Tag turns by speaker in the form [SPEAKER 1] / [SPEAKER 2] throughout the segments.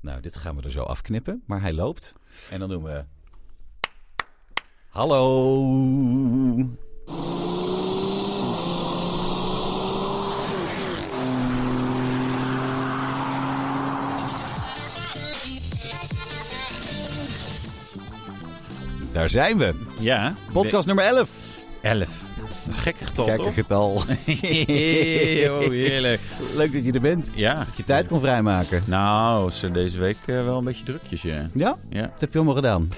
[SPEAKER 1] Nou, dit gaan we er zo afknippen, maar hij loopt. En dan doen we... Hallo! Daar zijn we.
[SPEAKER 2] Ja.
[SPEAKER 1] Podcast nummer 11.
[SPEAKER 2] 11. Dat is een gekke getal,
[SPEAKER 1] Kijk,
[SPEAKER 2] toch?
[SPEAKER 1] getal.
[SPEAKER 2] oh, heerlijk.
[SPEAKER 1] Leuk dat je er bent.
[SPEAKER 2] Ja.
[SPEAKER 1] Dat je tijd kon vrijmaken.
[SPEAKER 2] Nou, ze zijn deze week eh, wel een beetje drukjes, ja.
[SPEAKER 1] Ja?
[SPEAKER 2] Ja,
[SPEAKER 1] Dat heb je allemaal gedaan.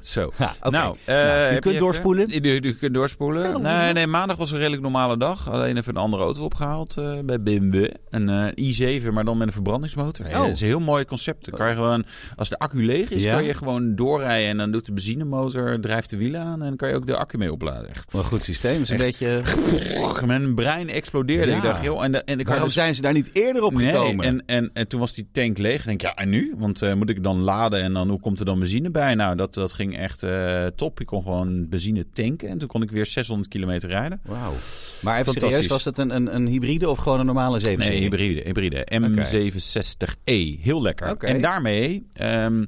[SPEAKER 2] zo.
[SPEAKER 1] Ha, oké.
[SPEAKER 2] Nou, eh,
[SPEAKER 1] Nou, je
[SPEAKER 2] heb
[SPEAKER 1] kunt
[SPEAKER 2] even-
[SPEAKER 1] doorspoelen.
[SPEAKER 2] Je, je kunt doorspoelen. Nee, nee, maandag was een redelijk normale dag. Alleen even een andere auto opgehaald eh, bij BMW. Een eh, i7, maar dan met een verbrandingsmotor.
[SPEAKER 1] Oh.
[SPEAKER 2] Ja, dat is een heel mooi concept. Dan kan je gewoon, als de accu leeg is,
[SPEAKER 1] Ja.
[SPEAKER 2] kan je gewoon doorrijden. En dan doet de benzinemotor, drijft de wielen aan. En dan kan je ook de accu mee opladen. Echt.
[SPEAKER 1] Wel een goed systeem. Het is een
[SPEAKER 2] Echt.
[SPEAKER 1] beetje...
[SPEAKER 2] Mijn brein explodeerde.
[SPEAKER 1] Ja.
[SPEAKER 2] Ik dacht, joh, en, da- en ik had
[SPEAKER 1] Waarom
[SPEAKER 2] dus
[SPEAKER 1] zijn ze daar niet eerder op gekomen?
[SPEAKER 2] Nee, en, en, en toen was die tank leeg. Ik denk, ja, en nu? Want eh, moet ik dan laden en dan hoe komt er dan benzine bij? Nou, dat, dat ging echt eh, top. Ik kon gewoon benzine tanken en toen kon ik weer 600 kilometer rijden.
[SPEAKER 1] Wauw. Maar even
[SPEAKER 2] Fantastisch.
[SPEAKER 1] serieus, was dat een, een, een hybride of gewoon een normale 7
[SPEAKER 2] Nee, hybride, hybride. M760e. Heel lekker.
[SPEAKER 1] Oké.
[SPEAKER 2] En daarmee, ehm,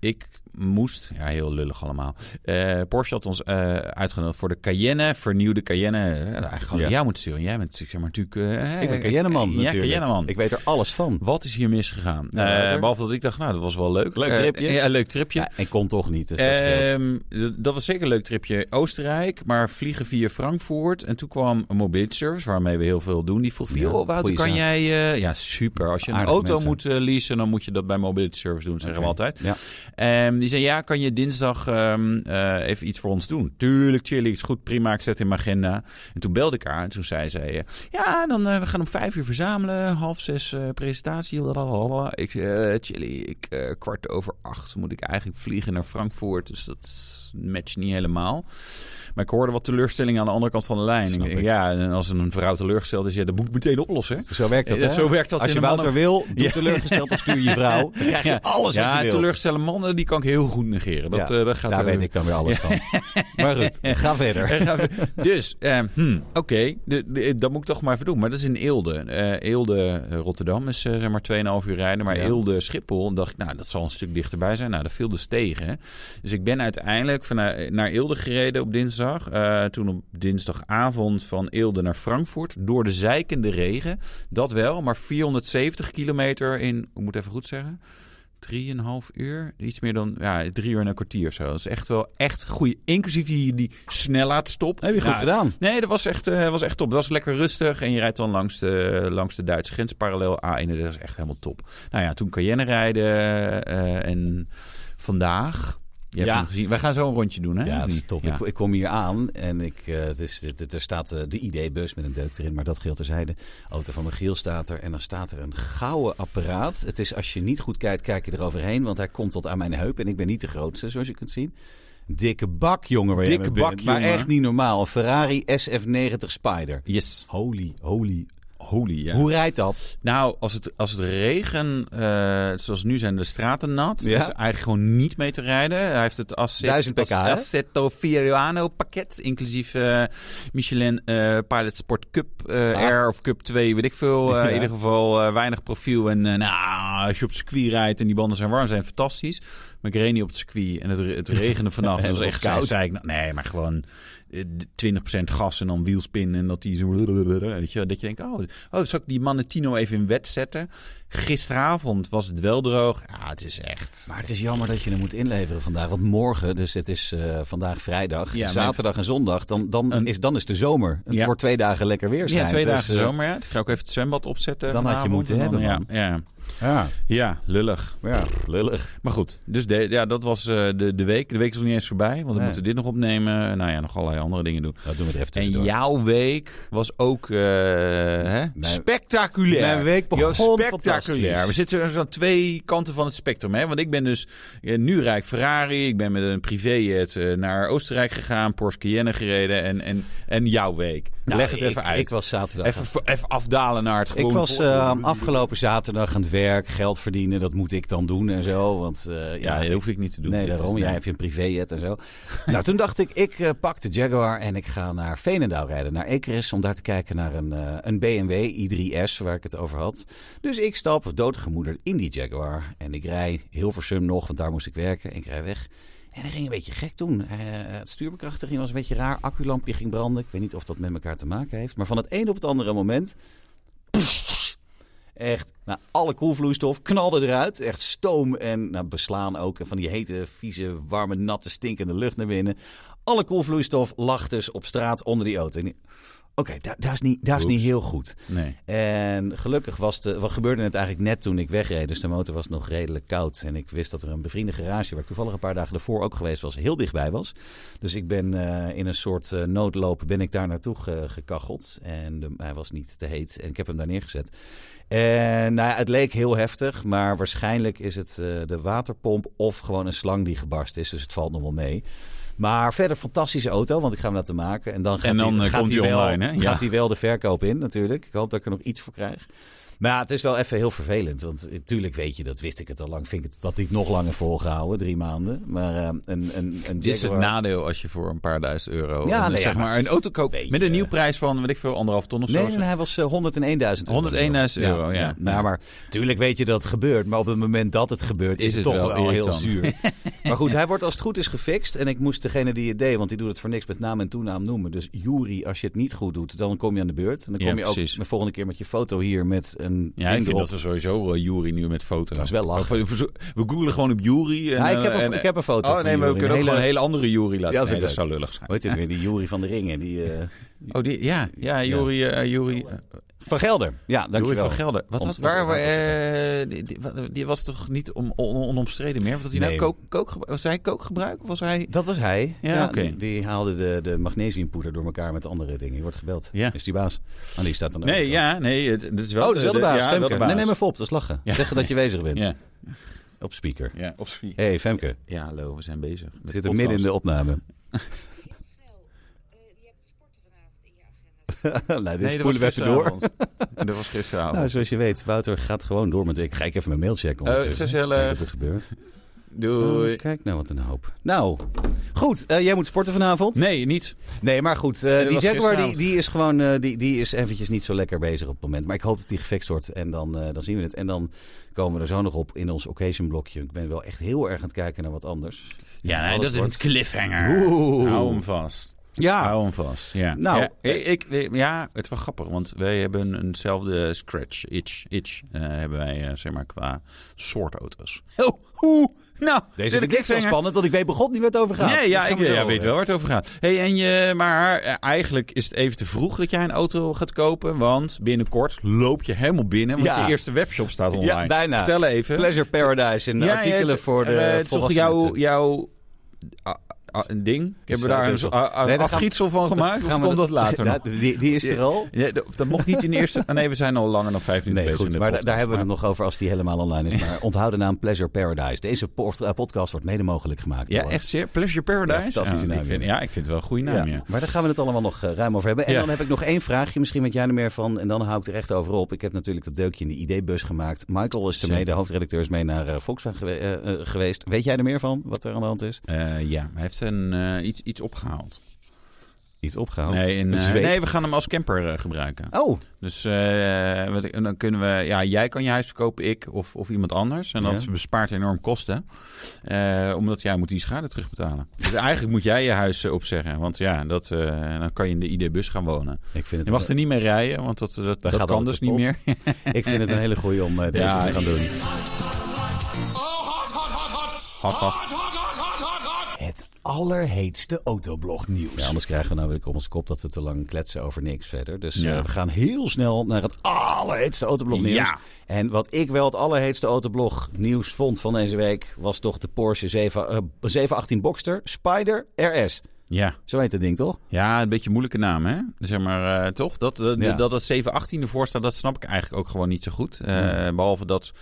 [SPEAKER 2] ik moest, ja, heel lullig allemaal. Eh, Porsche had ons eh, uitgenodigd voor de Cayenne, vernieuwde Cayenne. Eh, eigenlijk gewoon,
[SPEAKER 1] Ja.
[SPEAKER 2] jij moet sturen. Jij bent, ik zeg maar, natuurlijk... eh,
[SPEAKER 1] Ik ben Cayenneman
[SPEAKER 2] eh,
[SPEAKER 1] natuurlijk.
[SPEAKER 2] Ja, Cayenneman.
[SPEAKER 1] Ik weet er alles van.
[SPEAKER 2] Wat is hier misgegaan?
[SPEAKER 1] Nou,
[SPEAKER 2] Eh,
[SPEAKER 1] later.
[SPEAKER 2] behalve dat ik dacht, nou, dat was wel leuk.
[SPEAKER 1] Leuk
[SPEAKER 2] Eh,
[SPEAKER 1] tripje.
[SPEAKER 2] ja, leuk tripje.
[SPEAKER 1] Ja, en kon toch niet. Dus dat scheelt.
[SPEAKER 2] Ehm, d- dat was zeker een leuk tripje. Oostenrijk, maar vliegen via Frankfurt. En toen kwam een mobility service, waarmee we heel veel doen. Die vroeg,
[SPEAKER 1] Ja,
[SPEAKER 2] joh, Wouter,
[SPEAKER 1] goeie
[SPEAKER 2] kan
[SPEAKER 1] zaak.
[SPEAKER 2] jij... eh, ja, super. Als je een
[SPEAKER 1] Aardige
[SPEAKER 2] auto
[SPEAKER 1] mensen.
[SPEAKER 2] moet eh, leasen, dan moet je dat bij mobility service doen, zeggen we
[SPEAKER 1] Oké.
[SPEAKER 2] altijd.
[SPEAKER 1] Ja.
[SPEAKER 2] Ehm, die zei, ja, kan je dinsdag ehm, eh, even iets voor ons doen? Tuurlijk, chillig, is goed, prima, ik zet in mijn agenda. En toen belde ik haar en toen zei zij, eh, ja, dan eh, we gaan om vijf uur verzamelen, half zes eh, presentatie, blablabla. Ik, eh chilly, ik, eh, kwart over acht moet ik eigenlijk vliegen naar Frankfurt, dus dat matcht niet helemaal. Maar ik hoorde wat teleurstelling aan de andere kant van de lijn.
[SPEAKER 1] Snap
[SPEAKER 2] Ik-
[SPEAKER 1] ik.
[SPEAKER 2] Ja, en als een vrouw teleurgesteld is, ja, dan moet ik meteen oplossen. hè.
[SPEAKER 1] Zo werkt dat,
[SPEAKER 2] Eh,
[SPEAKER 1] hè?
[SPEAKER 2] zo werkt dat
[SPEAKER 1] Als je
[SPEAKER 2] in de
[SPEAKER 1] Wouter wil, doe
[SPEAKER 2] Ja.
[SPEAKER 1] teleurgesteld of stuur je vrouw. Dan krijg je alles
[SPEAKER 2] ja,
[SPEAKER 1] wat je wil.
[SPEAKER 2] teleurgestelde mannen, die kan ik heel goed negeren. Dat,
[SPEAKER 1] Ja,
[SPEAKER 2] eh, dat gaat
[SPEAKER 1] Daar
[SPEAKER 2] eh,
[SPEAKER 1] weet ik dan weer alles van. Maar goed, ga verder.
[SPEAKER 2] Er gaan we- dus, ehm, hmm, oké, de- de- dat moet ik toch maar even doen. Maar dat is in Eelde. Eh, Eelde, eh, Rotterdam is eh, zeg maar 2,5 uur rijden. Maar
[SPEAKER 1] Ja.
[SPEAKER 2] Eelde, Schiphol, dan dacht ik, nou, dat zal een stuk dichterbij zijn. Nou, dat viel dus tegen. Dus ik ben uiteindelijk van, eh, naar Eelde gereden op dinsdag. Eh, toen op dinsdagavond van Eelde naar Frankfurt. Door de zeikende regen. Dat wel, maar 470 kilometer in, ik moet even goed zeggen... 3,5 uur. Iets meer dan ja, drie uur en een kwartier of zo. Dat is echt wel echt goeie. Inclusief die, die snellaadstop.
[SPEAKER 1] Heb je goed
[SPEAKER 2] Nou,
[SPEAKER 1] gedaan.
[SPEAKER 2] Nee, dat was echt, eh, was echt top. Dat was lekker rustig. En je rijdt dan langs de, langs de Duitse grens parallel A1. Dat is echt helemaal top. Nou ja, toen Cayenne rijden. eh, en vandaag... Je hebt
[SPEAKER 1] Ja.
[SPEAKER 2] hem gezien. Wij gaan zo een rondje doen, hè?
[SPEAKER 1] Ja,
[SPEAKER 2] Of
[SPEAKER 1] dat is
[SPEAKER 2] niet?
[SPEAKER 1] top.
[SPEAKER 2] Ja.
[SPEAKER 1] Ik, ik kom hier aan en ik, eh, het is, dit- dit- er staat eh, de ID-bus met een deuk erin, maar dat geldt terzijde. Auto van Michiel staat er en dan staat er een gouden apparaat. Het is als je niet goed kijkt, kijk je eroverheen, want hij komt tot aan mijn heup en ik ben niet de grootste, zoals je kunt zien. Dikke bak, jongen. waar jij
[SPEAKER 2] Dikke
[SPEAKER 1] mee bent.
[SPEAKER 2] bak,
[SPEAKER 1] Maar
[SPEAKER 2] jongen.
[SPEAKER 1] echt niet normaal. Een Ferrari SF90 Spider.
[SPEAKER 2] Yes.
[SPEAKER 1] Holy, holy.
[SPEAKER 2] Holy, ja.
[SPEAKER 1] Hoe rijdt dat?
[SPEAKER 2] Nou, als het, als het regen, eh, zoals nu zijn de straten nat,
[SPEAKER 1] Ja.
[SPEAKER 2] is eigenlijk gewoon niet mee te rijden. Hij heeft het Asset-
[SPEAKER 1] 1000 pk, hè?
[SPEAKER 2] Assetto Fiorano pakket, inclusief eh, Michelin eh, Pilot Sport Cup eh,
[SPEAKER 1] Ah.
[SPEAKER 2] R of Cup 2, weet ik veel. Eh,
[SPEAKER 1] Ja.
[SPEAKER 2] In ieder geval eh, weinig profiel. En eh, nou, als je op circuit rijdt en die banden zijn warm, zijn fantastisch. Maar ik reed niet op het circuit en het, re- het regende vannacht.
[SPEAKER 1] En
[SPEAKER 2] Het was
[SPEAKER 1] het
[SPEAKER 2] echt
[SPEAKER 1] was koud.
[SPEAKER 2] koud. Zei ik, nou, nee, maar gewoon eh, 20% gas en dan wielspin. En dat die zo... Weet je, dat je denkt, oh, oh, zal ik die Manettino even in wet zetten? Gisteravond was het wel droog. Ja, het is echt...
[SPEAKER 1] Maar het is jammer dat je hem moet inleveren vandaag. Want morgen, dus het is eh, vandaag vrijdag,
[SPEAKER 2] Ja, maar-
[SPEAKER 1] zaterdag en zondag, dan, dan,
[SPEAKER 2] Een-
[SPEAKER 1] is, dan is de zomer. Het
[SPEAKER 2] Ja.
[SPEAKER 1] wordt twee dagen lekker weer.
[SPEAKER 2] Ja,
[SPEAKER 1] schijnt.
[SPEAKER 2] twee
[SPEAKER 1] Dus,
[SPEAKER 2] dagen
[SPEAKER 1] eh,
[SPEAKER 2] zomer. Ja. Ik ga ook even het zwembad opzetten.
[SPEAKER 1] Dan had je
[SPEAKER 2] vanavond.
[SPEAKER 1] moeten
[SPEAKER 2] En dan-
[SPEAKER 1] hebben,
[SPEAKER 2] Ja, ja.
[SPEAKER 1] Ja,
[SPEAKER 2] ja, lullig.
[SPEAKER 1] ja, lullig.
[SPEAKER 2] Maar goed, dus de, ja, dat was eh, de, de week. De week is nog niet eens voorbij, want we
[SPEAKER 1] Nee.
[SPEAKER 2] moeten dit nog opnemen. Nou ja, nog allerlei andere dingen doen.
[SPEAKER 1] Dat doen we er Nou, even
[SPEAKER 2] En
[SPEAKER 1] tussendoor.
[SPEAKER 2] jouw week was ook eh, hè? spectaculair.
[SPEAKER 1] mijn week begon
[SPEAKER 2] Yo, spectaculair.
[SPEAKER 1] fantastisch.
[SPEAKER 2] We zitten dus aan twee kanten van het spectrum. Hè? Want ik ben dus eh, nu rijk Ferrari. Ik ben met een privéjet eh, naar Oostenrijk gegaan. Porsche Cayenne gereden. En, en, en jouw week.
[SPEAKER 1] Nou,
[SPEAKER 2] Leg het
[SPEAKER 1] ik-
[SPEAKER 2] even uit.
[SPEAKER 1] Ik was zaterdag.
[SPEAKER 2] even, even afdalen naar het
[SPEAKER 1] ik eh,
[SPEAKER 2] gewoon.
[SPEAKER 1] was eh, afgelopen zaterdag aan het werk, geld verdienen, dat moet ik dan doen en zo. Want eh,
[SPEAKER 2] Ja, dat hoef ik niet te doen.
[SPEAKER 1] Nee,
[SPEAKER 2] Dit is-
[SPEAKER 1] daarom. Jij hebt je een privéjet en zo. nou, toen dacht ik, ik eh, pak de Jaguar en ik ga naar Veenendaal rijden. Naar Ekeris, om daar te kijken naar een, eh, een BMW i3S, waar ik het over had. Dus ik stap doodgemoederd in die Jaguar. En ik rij Hilversum nog, want daar moest ik werken. En ik rij weg. En dat ging een beetje gek toen. Eh, het stuurbekrachtiging was een beetje raar. Acculampje ging branden. Ik weet niet of dat met elkaar te maken heeft. Maar van het een op het andere moment... Echt, nou, alle koelvloeistof knalde eruit. Echt stoom en nou, beslaan ook. En van die hete, vieze, warme, natte, stinkende lucht naar binnen. Alle koelvloeistof lag dus op straat onder die auto. En die- Oké, daar daar is, niet, daar is niet
[SPEAKER 2] Oeps.
[SPEAKER 1] heel goed.
[SPEAKER 2] Nee.
[SPEAKER 1] En gelukkig was de, wat gebeurde het eigenlijk net toen ik wegreed. Dus de motor was nog redelijk koud. En ik wist dat er een bevriende garage, waar ik toevallig een paar dagen daarvoor ook geweest was, heel dichtbij was. Dus ik ben eh, in een soort eh, noodloop ben ik daar naartoe ge- gekacheld. En de- hij was niet te heet. En ik heb hem daar neergezet. En nou ja, het leek heel heftig, maar waarschijnlijk is het eh, de waterpomp of gewoon een slang die gebarst is. Dus het valt nog wel mee. Maar verder fantastische auto, want ik ga hem laten maken. En dan gaat
[SPEAKER 2] En dan,
[SPEAKER 1] hij,
[SPEAKER 2] eh,
[SPEAKER 1] gaat
[SPEAKER 2] komt
[SPEAKER 1] hij
[SPEAKER 2] hij
[SPEAKER 1] wel,
[SPEAKER 2] online, hè? Ja.
[SPEAKER 1] Gaat hij wel de verkoop in natuurlijk. Ik hoop dat ik er nog iets voor krijg. Maar ja, het is wel even heel vervelend. Want natuurlijk weet je, dat wist ik het al lang. Vind ik het dat niet nog langer volgehouden, drie maanden. Maar eh, een, een, een
[SPEAKER 2] Dit is het
[SPEAKER 1] Jaguar-
[SPEAKER 2] nadeel als je voor een paar duizend euro
[SPEAKER 1] Ja,
[SPEAKER 2] ja,
[SPEAKER 1] nee,
[SPEAKER 2] zeg
[SPEAKER 1] ja,
[SPEAKER 2] maar een auto koopt
[SPEAKER 1] Weet
[SPEAKER 2] met
[SPEAKER 1] je.
[SPEAKER 2] een nieuwprijs van, weet ik veel, anderhalf ton of zo.
[SPEAKER 1] Nee, nee, nee, hij was eh, 101.000 euro.
[SPEAKER 2] 101.000 euro, ja.
[SPEAKER 1] Nou, maar tuurlijk weet je dat het gebeurt. Maar op het moment dat het gebeurt, is,
[SPEAKER 2] Is
[SPEAKER 1] het
[SPEAKER 2] het
[SPEAKER 1] toch
[SPEAKER 2] wel
[SPEAKER 1] wel heel
[SPEAKER 2] irritant.
[SPEAKER 1] zuur. maar goed, hij wordt als het goed is gefixt. En ik moest degene die het deed, want die doet het voor niks met naam en toenaam noemen. Dus Jury, als je het niet goed doet, dan kom je aan de beurt. En dan
[SPEAKER 2] Ja,
[SPEAKER 1] kom je ook
[SPEAKER 2] precies.
[SPEAKER 1] de volgende keer met je foto hier met een
[SPEAKER 2] Ja,
[SPEAKER 1] ding
[SPEAKER 2] ik vind
[SPEAKER 1] erop.
[SPEAKER 2] dat we sowieso uh, Jury nu met foto's.
[SPEAKER 1] Dat is wel lachen.
[SPEAKER 2] We, we googelen gewoon op Jury. En,
[SPEAKER 1] Ja, ik, heb
[SPEAKER 2] eh,
[SPEAKER 1] een,
[SPEAKER 2] en-
[SPEAKER 1] ik heb een foto
[SPEAKER 2] Oh
[SPEAKER 1] van
[SPEAKER 2] nee, maar we
[SPEAKER 1] Jury.
[SPEAKER 2] kunnen ook
[SPEAKER 1] Een
[SPEAKER 2] gewoon een
[SPEAKER 1] hele-
[SPEAKER 2] hele andere Jury laten
[SPEAKER 1] Ja,
[SPEAKER 2] zien.
[SPEAKER 1] dat is
[SPEAKER 2] Nee, dat
[SPEAKER 1] leuk.
[SPEAKER 2] zou lullig zijn.
[SPEAKER 1] Hoe heet die ook weer? Die Jury van de Ringen. Die, eh,
[SPEAKER 2] Oh, die, ja, ja, Jury, eh Jury, eh,
[SPEAKER 1] Van Gelder. Ja,
[SPEAKER 2] Jury
[SPEAKER 1] dankjewel.
[SPEAKER 2] van Gelder. Wat,
[SPEAKER 1] Ons-
[SPEAKER 2] was waar,
[SPEAKER 1] ons-
[SPEAKER 2] eh, die, die- wat- die was toch niet om, on- onomstreden meer? Want Was hij
[SPEAKER 1] Nee.
[SPEAKER 2] nou kook, kook, gebru- was hij kookgebruik? Of was hij...
[SPEAKER 1] Dat was hij.
[SPEAKER 2] Ja, oké.
[SPEAKER 1] die, die haalde de, de magnesiumpoeder door elkaar met andere dingen. Je wordt gebeld.
[SPEAKER 2] Ja.
[SPEAKER 1] Is die baas? En die staat dan
[SPEAKER 2] Nee,
[SPEAKER 1] ook.
[SPEAKER 2] ja, nee, het, het is wel...
[SPEAKER 1] Oh, dat is wel de baas.
[SPEAKER 2] ja,
[SPEAKER 1] Femke.
[SPEAKER 2] wel de baas.
[SPEAKER 1] Nee, neem even op. Dat is lachen.
[SPEAKER 2] Ja.
[SPEAKER 1] Zeggen dat je bezig bent.
[SPEAKER 2] Ja,
[SPEAKER 1] Op speaker.
[SPEAKER 2] ja, of vier.
[SPEAKER 1] Hé, hey, Femke.
[SPEAKER 2] Ja, hallo, we zijn bezig.
[SPEAKER 1] We
[SPEAKER 2] met
[SPEAKER 1] zitten
[SPEAKER 2] podcast.
[SPEAKER 1] midden in de opname.
[SPEAKER 3] Snel, eh, je hebt sporten vanavond in je agenda.
[SPEAKER 1] nou, dit
[SPEAKER 2] Nee, dat was
[SPEAKER 1] spoelen we even door.
[SPEAKER 2] gisteravond. dat was gisteravond.
[SPEAKER 1] Nou, zoals je weet, Wouter gaat gewoon door met... Ik ga even mijn mail checken
[SPEAKER 2] Eh,
[SPEAKER 1] ondertussen.
[SPEAKER 2] gezellig.
[SPEAKER 1] Kijken wat er gebeurt.
[SPEAKER 2] Doei.
[SPEAKER 1] Oh, kijk nou, wat een hoop. Nou, goed. eh, jij moet sporten vanavond.
[SPEAKER 2] Nee, niet.
[SPEAKER 1] Nee, maar goed. eh,
[SPEAKER 2] dat
[SPEAKER 1] die
[SPEAKER 2] was
[SPEAKER 1] Jaguar die,
[SPEAKER 2] gisteravond.
[SPEAKER 1] die is gewoon eh, die, die is eventjes niet zo lekker bezig op het moment. Maar ik hoop dat die gefixt wordt en dan, eh, dan zien we het. En dan komen we er zo nog op in ons occasion blokje. Ik ben wel echt heel erg aan het kijken naar wat anders.
[SPEAKER 2] Ja,
[SPEAKER 1] Wat
[SPEAKER 2] nee, dat is een
[SPEAKER 1] wordt-
[SPEAKER 2] cliffhanger.
[SPEAKER 1] Oeh.
[SPEAKER 2] Hou hem vast.
[SPEAKER 1] Ja,
[SPEAKER 2] Hou hem vast. Ja.
[SPEAKER 1] Nou,
[SPEAKER 2] ja, Ah. ik, ik- ja, het was grappig, want wij hebben eenzelfde scratch, itch, itch, eh, hebben wij, eh, zeg maar, qua soort auto's. Oh, hoe? Nou,
[SPEAKER 1] deze
[SPEAKER 2] dit
[SPEAKER 1] vind ik echt zo
[SPEAKER 2] cliffhanger.
[SPEAKER 1] spannend, want ik weet begot niet waar het over gaat.
[SPEAKER 2] Nee,
[SPEAKER 1] Dus
[SPEAKER 2] ja,
[SPEAKER 1] gaan
[SPEAKER 2] ik
[SPEAKER 1] we zo,
[SPEAKER 2] ja,
[SPEAKER 1] eh,
[SPEAKER 2] weet wel waar het over gaat. Hey, en je, maar eh, eigenlijk is het even te vroeg dat jij een auto gaat kopen. Want binnenkort loop je helemaal binnen. Want
[SPEAKER 1] Ja.
[SPEAKER 2] je eerste webshop staat online.
[SPEAKER 1] Ja, bijna.
[SPEAKER 2] Vertel even.
[SPEAKER 1] Pleasure Paradise en
[SPEAKER 2] Ja, ja,
[SPEAKER 1] artikelen
[SPEAKER 2] het-
[SPEAKER 1] voor de
[SPEAKER 2] eh, het is toch
[SPEAKER 1] volwassenen.
[SPEAKER 2] jouw, jouw ah, ah, een ding? Hebben we daar
[SPEAKER 1] het
[SPEAKER 2] een
[SPEAKER 1] is al-
[SPEAKER 2] ah, ah,
[SPEAKER 1] Nee, daar gaan-
[SPEAKER 2] afgietsel van gemaakt? Of
[SPEAKER 1] Gaan we
[SPEAKER 2] komt dat later nog?
[SPEAKER 1] Ja, Die, die is er al.
[SPEAKER 2] Ja, dat, dat mocht niet in de eerste... ah, Nee, we zijn al langer dan vijf minuten
[SPEAKER 1] Nee,
[SPEAKER 2] bezig
[SPEAKER 1] goed,
[SPEAKER 2] in
[SPEAKER 1] maar
[SPEAKER 2] de
[SPEAKER 1] daar- daar
[SPEAKER 2] podcast.
[SPEAKER 1] hebben we het nog over als die helemaal online is. Maar onthoud de naam Pleasure Paradise. Deze port- eh, podcast wordt mede mogelijk gemaakt
[SPEAKER 2] Ja,
[SPEAKER 1] door
[SPEAKER 2] echt zeer. Pleasure Paradise?
[SPEAKER 1] Ja, fantastische
[SPEAKER 2] ja,
[SPEAKER 1] naam,
[SPEAKER 2] ik vind,
[SPEAKER 1] ja.
[SPEAKER 2] ja, ik vind het wel een goede naam, ja.
[SPEAKER 1] Maar daar gaan we het allemaal nog eh, ruim over hebben. En
[SPEAKER 2] Ja.
[SPEAKER 1] dan heb ik nog één vraagje. Misschien weet jij er meer van. En dan hou ik er echt over op. Ik heb natuurlijk dat deukje in de ID-bus gemaakt. Michael is ermee,
[SPEAKER 2] Zeker.
[SPEAKER 1] de hoofdredacteur is mee naar eh, Volkswagen gewe- eh, eh, geweest. Weet jij er meer van wat er aan de hand is?
[SPEAKER 2] Eh, ja, hij heeft een, eh, iets, iets opgehaald.
[SPEAKER 1] Iets opgehaald.
[SPEAKER 2] Nee, en,
[SPEAKER 1] Een
[SPEAKER 2] eh,
[SPEAKER 1] zweep.
[SPEAKER 2] nee, we gaan hem als camper eh, gebruiken.
[SPEAKER 1] Dus Oh,
[SPEAKER 2] Dus eh, wat ik- en dan kunnen we, ja, jij kan je huis verkopen, ik of, of iemand anders. En dat
[SPEAKER 1] Ja.
[SPEAKER 2] bespaart enorm kosten. Eh, omdat jij moet die schade terugbetalen. Dus eigenlijk moet jij je huis eh, opzeggen. Want ja, dat, eh, dan kan je in de ID-bus gaan wonen.
[SPEAKER 1] ik vind het,
[SPEAKER 2] Je mag er niet meer rijden, want dat, dat, dat
[SPEAKER 1] gaat
[SPEAKER 2] kan
[SPEAKER 1] ook
[SPEAKER 2] dus
[SPEAKER 1] de
[SPEAKER 2] niet
[SPEAKER 1] pot.
[SPEAKER 2] meer.
[SPEAKER 1] ik vind het een hele goeie om eh, deze
[SPEAKER 2] Ja.
[SPEAKER 1] te gaan doen.
[SPEAKER 2] Hot, hot.
[SPEAKER 4] Het allerheetste autoblognieuws.
[SPEAKER 1] Ja, anders krijgen we nou weer op ons kop dat we te lang kletsen over niks verder. Dus
[SPEAKER 2] Ja.
[SPEAKER 1] eh, we gaan heel snel naar het allerheetste autoblog nieuws.
[SPEAKER 2] Ja.
[SPEAKER 1] En wat ik wel het allerheetste autoblog nieuws vond van deze week... was toch de Porsche 7, eh, 718 Boxster Spider RS.
[SPEAKER 2] Ja.
[SPEAKER 1] Zo heet het ding, toch?
[SPEAKER 2] ja, een beetje een moeilijke naam, hè? Zeg maar, eh, toch? Dat, dat,
[SPEAKER 1] Ja.
[SPEAKER 2] dat het 718 ervoor staat, dat snap ik eigenlijk ook gewoon niet zo goed. Eh, Behalve dat...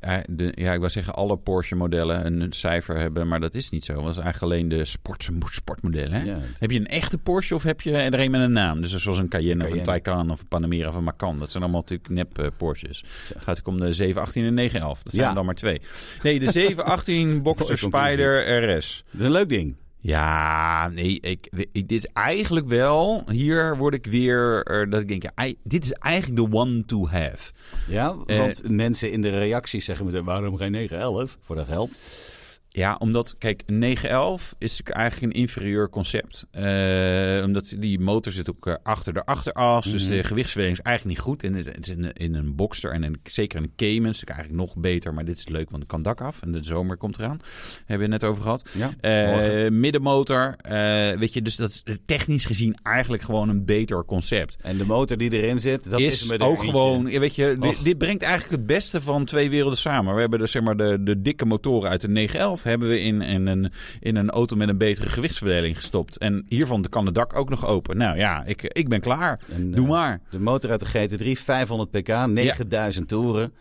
[SPEAKER 2] ja, de, ja, ik wil zeggen alle Porsche-modellen een, een cijfer hebben, maar dat is niet zo. Dat is eigenlijk alleen de sport, sportmodellen. hè?
[SPEAKER 1] Ja.
[SPEAKER 2] Heb je een echte Porsche of heb je er een met een naam? Dus zoals een Cayenne, of een
[SPEAKER 1] Cayenne.
[SPEAKER 2] Taycan of een Panamera of een Macan. Dat zijn allemaal natuurlijk nep eh, Porsches.
[SPEAKER 1] Zo.
[SPEAKER 2] Het gaat ook om de 718 en 911. Dat zijn
[SPEAKER 1] Ja.
[SPEAKER 2] er dan maar twee. Nee, de 718 Boxer
[SPEAKER 1] Mooie conclusie.
[SPEAKER 2] Spider RS.
[SPEAKER 1] Dat is een leuk ding.
[SPEAKER 2] Ja, nee, ik, ik- dit is eigenlijk wel... Hier word ik weer... eh, dat ik denk, ja, ei- dit is eigenlijk de one to have.
[SPEAKER 1] Ja, want mensen in de reacties zeggen meteen... waarom geen 911 voor dat geld?
[SPEAKER 2] Ja, omdat, kijk, een 911 is natuurlijk eigenlijk een inferieur concept. Eh, omdat die motor zit ook eh, achter de achteras. Dus de gewichtsverdeling is eigenlijk niet goed. En het het is in, in een Boxster en in- zeker in een Cayman is het eigenlijk nog beter. Maar dit is leuk, want het kan dak af. En de zomer komt eraan. Hebben we het net over gehad.
[SPEAKER 1] Ja,
[SPEAKER 2] Eh,
[SPEAKER 1] morgen.
[SPEAKER 2] middenmotor. eh, weet je, dus dat is technisch gezien eigenlijk gewoon een beter concept
[SPEAKER 1] En de motor die erin zit, dat is,
[SPEAKER 2] is,
[SPEAKER 1] me er
[SPEAKER 2] ook
[SPEAKER 1] eentje.
[SPEAKER 2] gewoon, ja, weet je,
[SPEAKER 1] Och.
[SPEAKER 2] dit, dit brengt eigenlijk het beste van twee werelden samen. We hebben dus zeg maar de, de dikke motoren uit de 911 hebben we in, in, een, in een auto met een betere gewichtsverdeling gestopt. En hiervan kan het dak ook nog open. Nou ja, ik, ik ben klaar.
[SPEAKER 1] En,
[SPEAKER 2] Doe
[SPEAKER 1] eh,
[SPEAKER 2] maar.
[SPEAKER 1] De motor uit de GT3, 500 pk, 9000 toeren.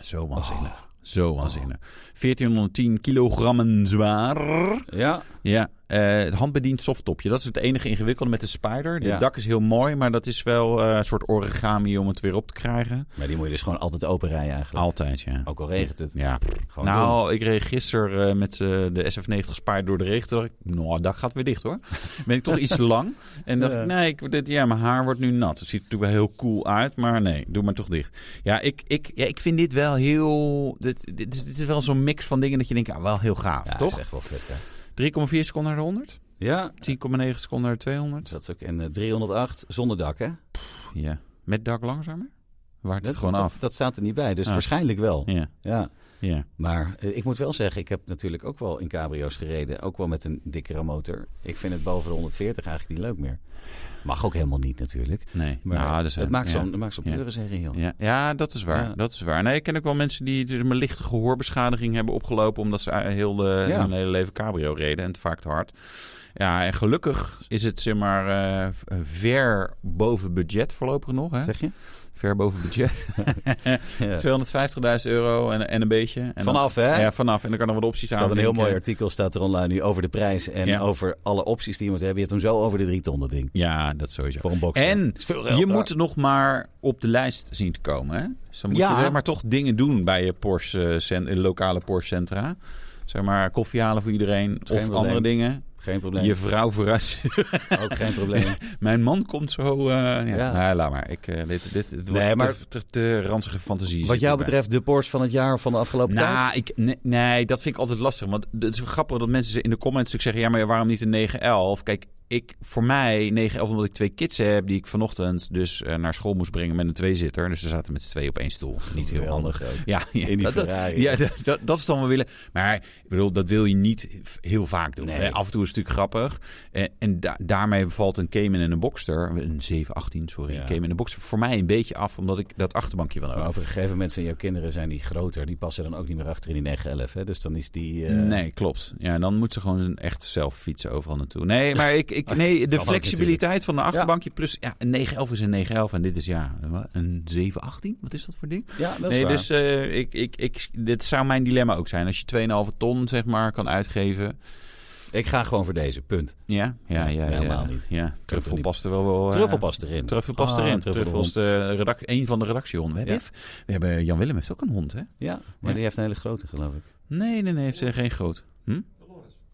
[SPEAKER 2] Zo waanzinnig. Oh, Zo waanzinnig. 1410 kilogrammen zwaar.
[SPEAKER 1] Ja,
[SPEAKER 2] Ja, eh, het handbediend softtopje. Dat is het enige ingewikkelde met de Spider. Het
[SPEAKER 1] Ja.
[SPEAKER 2] dak is heel mooi, maar dat is wel eh, een soort origami om het weer op te krijgen.
[SPEAKER 1] maar die moet je dus gewoon altijd open rijden eigenlijk.
[SPEAKER 2] Altijd, ja.
[SPEAKER 1] Ook al regent het.
[SPEAKER 2] Ja,
[SPEAKER 1] Gewoon
[SPEAKER 2] nou, ik reed gisteren eh, met eh, de SF90 spaard door de regen. Toen dacht ik, nou, het dak gaat weer dicht hoor. Ben ik toch iets te lang. En dacht
[SPEAKER 1] Ja.
[SPEAKER 2] ik, nee, ik, dit, ja, mijn haar wordt nu nat. Het ziet er natuurlijk wel heel cool uit, maar nee, doe maar toch dicht. Ja, ik, ik, ja, ik vind dit wel heel... Dit, dit, is, dit is wel zo'n mix van dingen dat je denkt, ah, wel heel gaaf,
[SPEAKER 1] Ja,
[SPEAKER 2] toch?
[SPEAKER 1] is echt wel vet, hè?
[SPEAKER 2] 3,4 seconden naar de 100.
[SPEAKER 1] Ja,
[SPEAKER 2] 10,9 seconden naar de 200.
[SPEAKER 1] dat is ook. En eh, 308 zonder dak, hè?
[SPEAKER 2] Ja, met dak langzamer. Waart het
[SPEAKER 1] Dat,
[SPEAKER 2] gewoon
[SPEAKER 1] dat-
[SPEAKER 2] af.
[SPEAKER 1] Dat staat er niet bij, dus
[SPEAKER 2] Ah.
[SPEAKER 1] waarschijnlijk wel.
[SPEAKER 2] Ja,
[SPEAKER 1] Ja.
[SPEAKER 2] ja.
[SPEAKER 1] Maar eh, ik moet wel zeggen, ik heb natuurlijk ook wel in cabrio's gereden. Ook wel met een dikkere motor. Ik vind het boven de 140 eigenlijk niet leuk meer. Mag ook helemaal niet natuurlijk.
[SPEAKER 2] Nee,
[SPEAKER 1] Maar
[SPEAKER 2] nou, er zijn-
[SPEAKER 1] het maakt
[SPEAKER 2] ja.
[SPEAKER 1] zo'n het maakt zo'n
[SPEAKER 2] Ja.
[SPEAKER 1] pleuris herrie, joh.
[SPEAKER 2] Ja, ja, dat is waar.
[SPEAKER 1] Ja.
[SPEAKER 2] Dat is waar. Nee, ik ken ook wel mensen die dus een lichte gehoorbeschadiging hebben opgelopen. omdat ze eh, heel de,
[SPEAKER 1] Ja.
[SPEAKER 2] hun hele leven cabrio reden en het vaak te hard. Ja, en gelukkig is het zeg maar eh, v- ver boven budget voorlopig nog. Hè?
[SPEAKER 1] Zeg je?
[SPEAKER 2] Ver boven budget. 250.000 euro en, en een beetje. En dan-
[SPEAKER 1] Vanaf, hè?
[SPEAKER 2] ja, vanaf. En dan kan er wat opties
[SPEAKER 1] Er
[SPEAKER 2] aan.
[SPEAKER 1] staat een heel
[SPEAKER 2] linken.
[SPEAKER 1] mooi artikel staat er online nu over de prijs en
[SPEAKER 2] Ja.
[SPEAKER 1] over alle opties die je moet hebben. Je hebt hem zo over de drie ton, dat ding.
[SPEAKER 2] Ja, dat sowieso.
[SPEAKER 1] Voor een box.
[SPEAKER 2] En
[SPEAKER 1] Is veel geld,
[SPEAKER 2] je
[SPEAKER 1] hè?
[SPEAKER 2] moet nog maar op de lijst zien te komen. Hè? Dus dan moet
[SPEAKER 1] Ja.
[SPEAKER 2] je wel maar toch dingen doen bij je Porsche, eh, cent- eh, lokale Porsche centra. Zeg maar koffie halen voor iedereen of
[SPEAKER 1] probleem.
[SPEAKER 2] andere dingen.
[SPEAKER 1] Geen probleem.
[SPEAKER 2] Je vrouw vooruit.
[SPEAKER 1] Ook geen probleem.
[SPEAKER 2] Mijn man komt zo. eh, ja.
[SPEAKER 1] Ja.
[SPEAKER 2] Nou, laat maar. Ik, eh, dit, dit, het
[SPEAKER 1] Nee,
[SPEAKER 2] wordt
[SPEAKER 1] maar-
[SPEAKER 2] te, te, te ranzige fantasie.
[SPEAKER 1] Wat
[SPEAKER 2] zit
[SPEAKER 1] jou
[SPEAKER 2] erbij.
[SPEAKER 1] betreft de Porsche van het jaar of van de afgelopen tijd?
[SPEAKER 2] Nou, ik, nee, nee, dat vind ik altijd lastig. Want het is grappig dat mensen in de comments natuurlijk zeggen... ja, maar waarom niet een 911? Kijk, ik, voor mij 911 omdat ik twee kids heb... die ik vanochtend dus eh, naar school moest brengen met een tweezitter. Dus ze zaten met z'n twee op één stoel. Niet heel handig.
[SPEAKER 1] ook.
[SPEAKER 2] Ja, ja,
[SPEAKER 1] In die
[SPEAKER 2] dat, dat-
[SPEAKER 1] Ferrari.
[SPEAKER 2] ja dat, dat, dat is dan wel willen. Maar ik bedoel, dat wil je niet f- heel vaak doen.
[SPEAKER 1] Nee.
[SPEAKER 2] hè. Af en toe is het natuurlijk grappig. En, en da- daarmee valt een Cayman en een Boxster... een 718, sorry,
[SPEAKER 1] Ja.
[SPEAKER 2] een Cayman en een Boxster... voor mij een beetje af, omdat ik dat achterbankje wel
[SPEAKER 1] Maar
[SPEAKER 2] over.
[SPEAKER 1] over gegeven mensen en jouw kinderen zijn die groter. Die passen dan ook niet meer achter in die 911. Hè? Dus dan is die... eh,
[SPEAKER 2] Nee, klopt. Ja, dan moet ze gewoon echt zelf fietsen overal naartoe. Nee, maar ik, ik, nee, de
[SPEAKER 1] Kan ook
[SPEAKER 2] flexibiliteit van de achterbankje plus ja, een 911 is een 911 en dit is ja, een 718. Wat is dat voor ding?
[SPEAKER 1] Ja, dat is
[SPEAKER 2] Nee,
[SPEAKER 1] waar.
[SPEAKER 2] dus eh, ik, ik, ik, dit zou mijn dilemma ook zijn. Als je 2,5 ton zeg maar kan uitgeven.
[SPEAKER 1] Ik ga gewoon voor deze, punt.
[SPEAKER 2] Ja, ja, ja.
[SPEAKER 1] Nee,
[SPEAKER 2] ja,
[SPEAKER 1] helemaal
[SPEAKER 2] ja.
[SPEAKER 1] niet.
[SPEAKER 2] Ja, truffel
[SPEAKER 1] niet.
[SPEAKER 2] past er wel wel. eh,
[SPEAKER 1] Truffel past erin.
[SPEAKER 2] Truffel past
[SPEAKER 1] Ah,
[SPEAKER 2] erin.
[SPEAKER 1] Truffel de
[SPEAKER 2] Truffel is de redac- een van de redactiehonden. We,
[SPEAKER 1] Ja.
[SPEAKER 2] hebben we hebben Jan Willem heeft ook een hond, hè?
[SPEAKER 1] Ja, maar die heeft een hele grote, geloof ik.
[SPEAKER 2] Nee, nee, nee, heeft ze geen groot. Hm?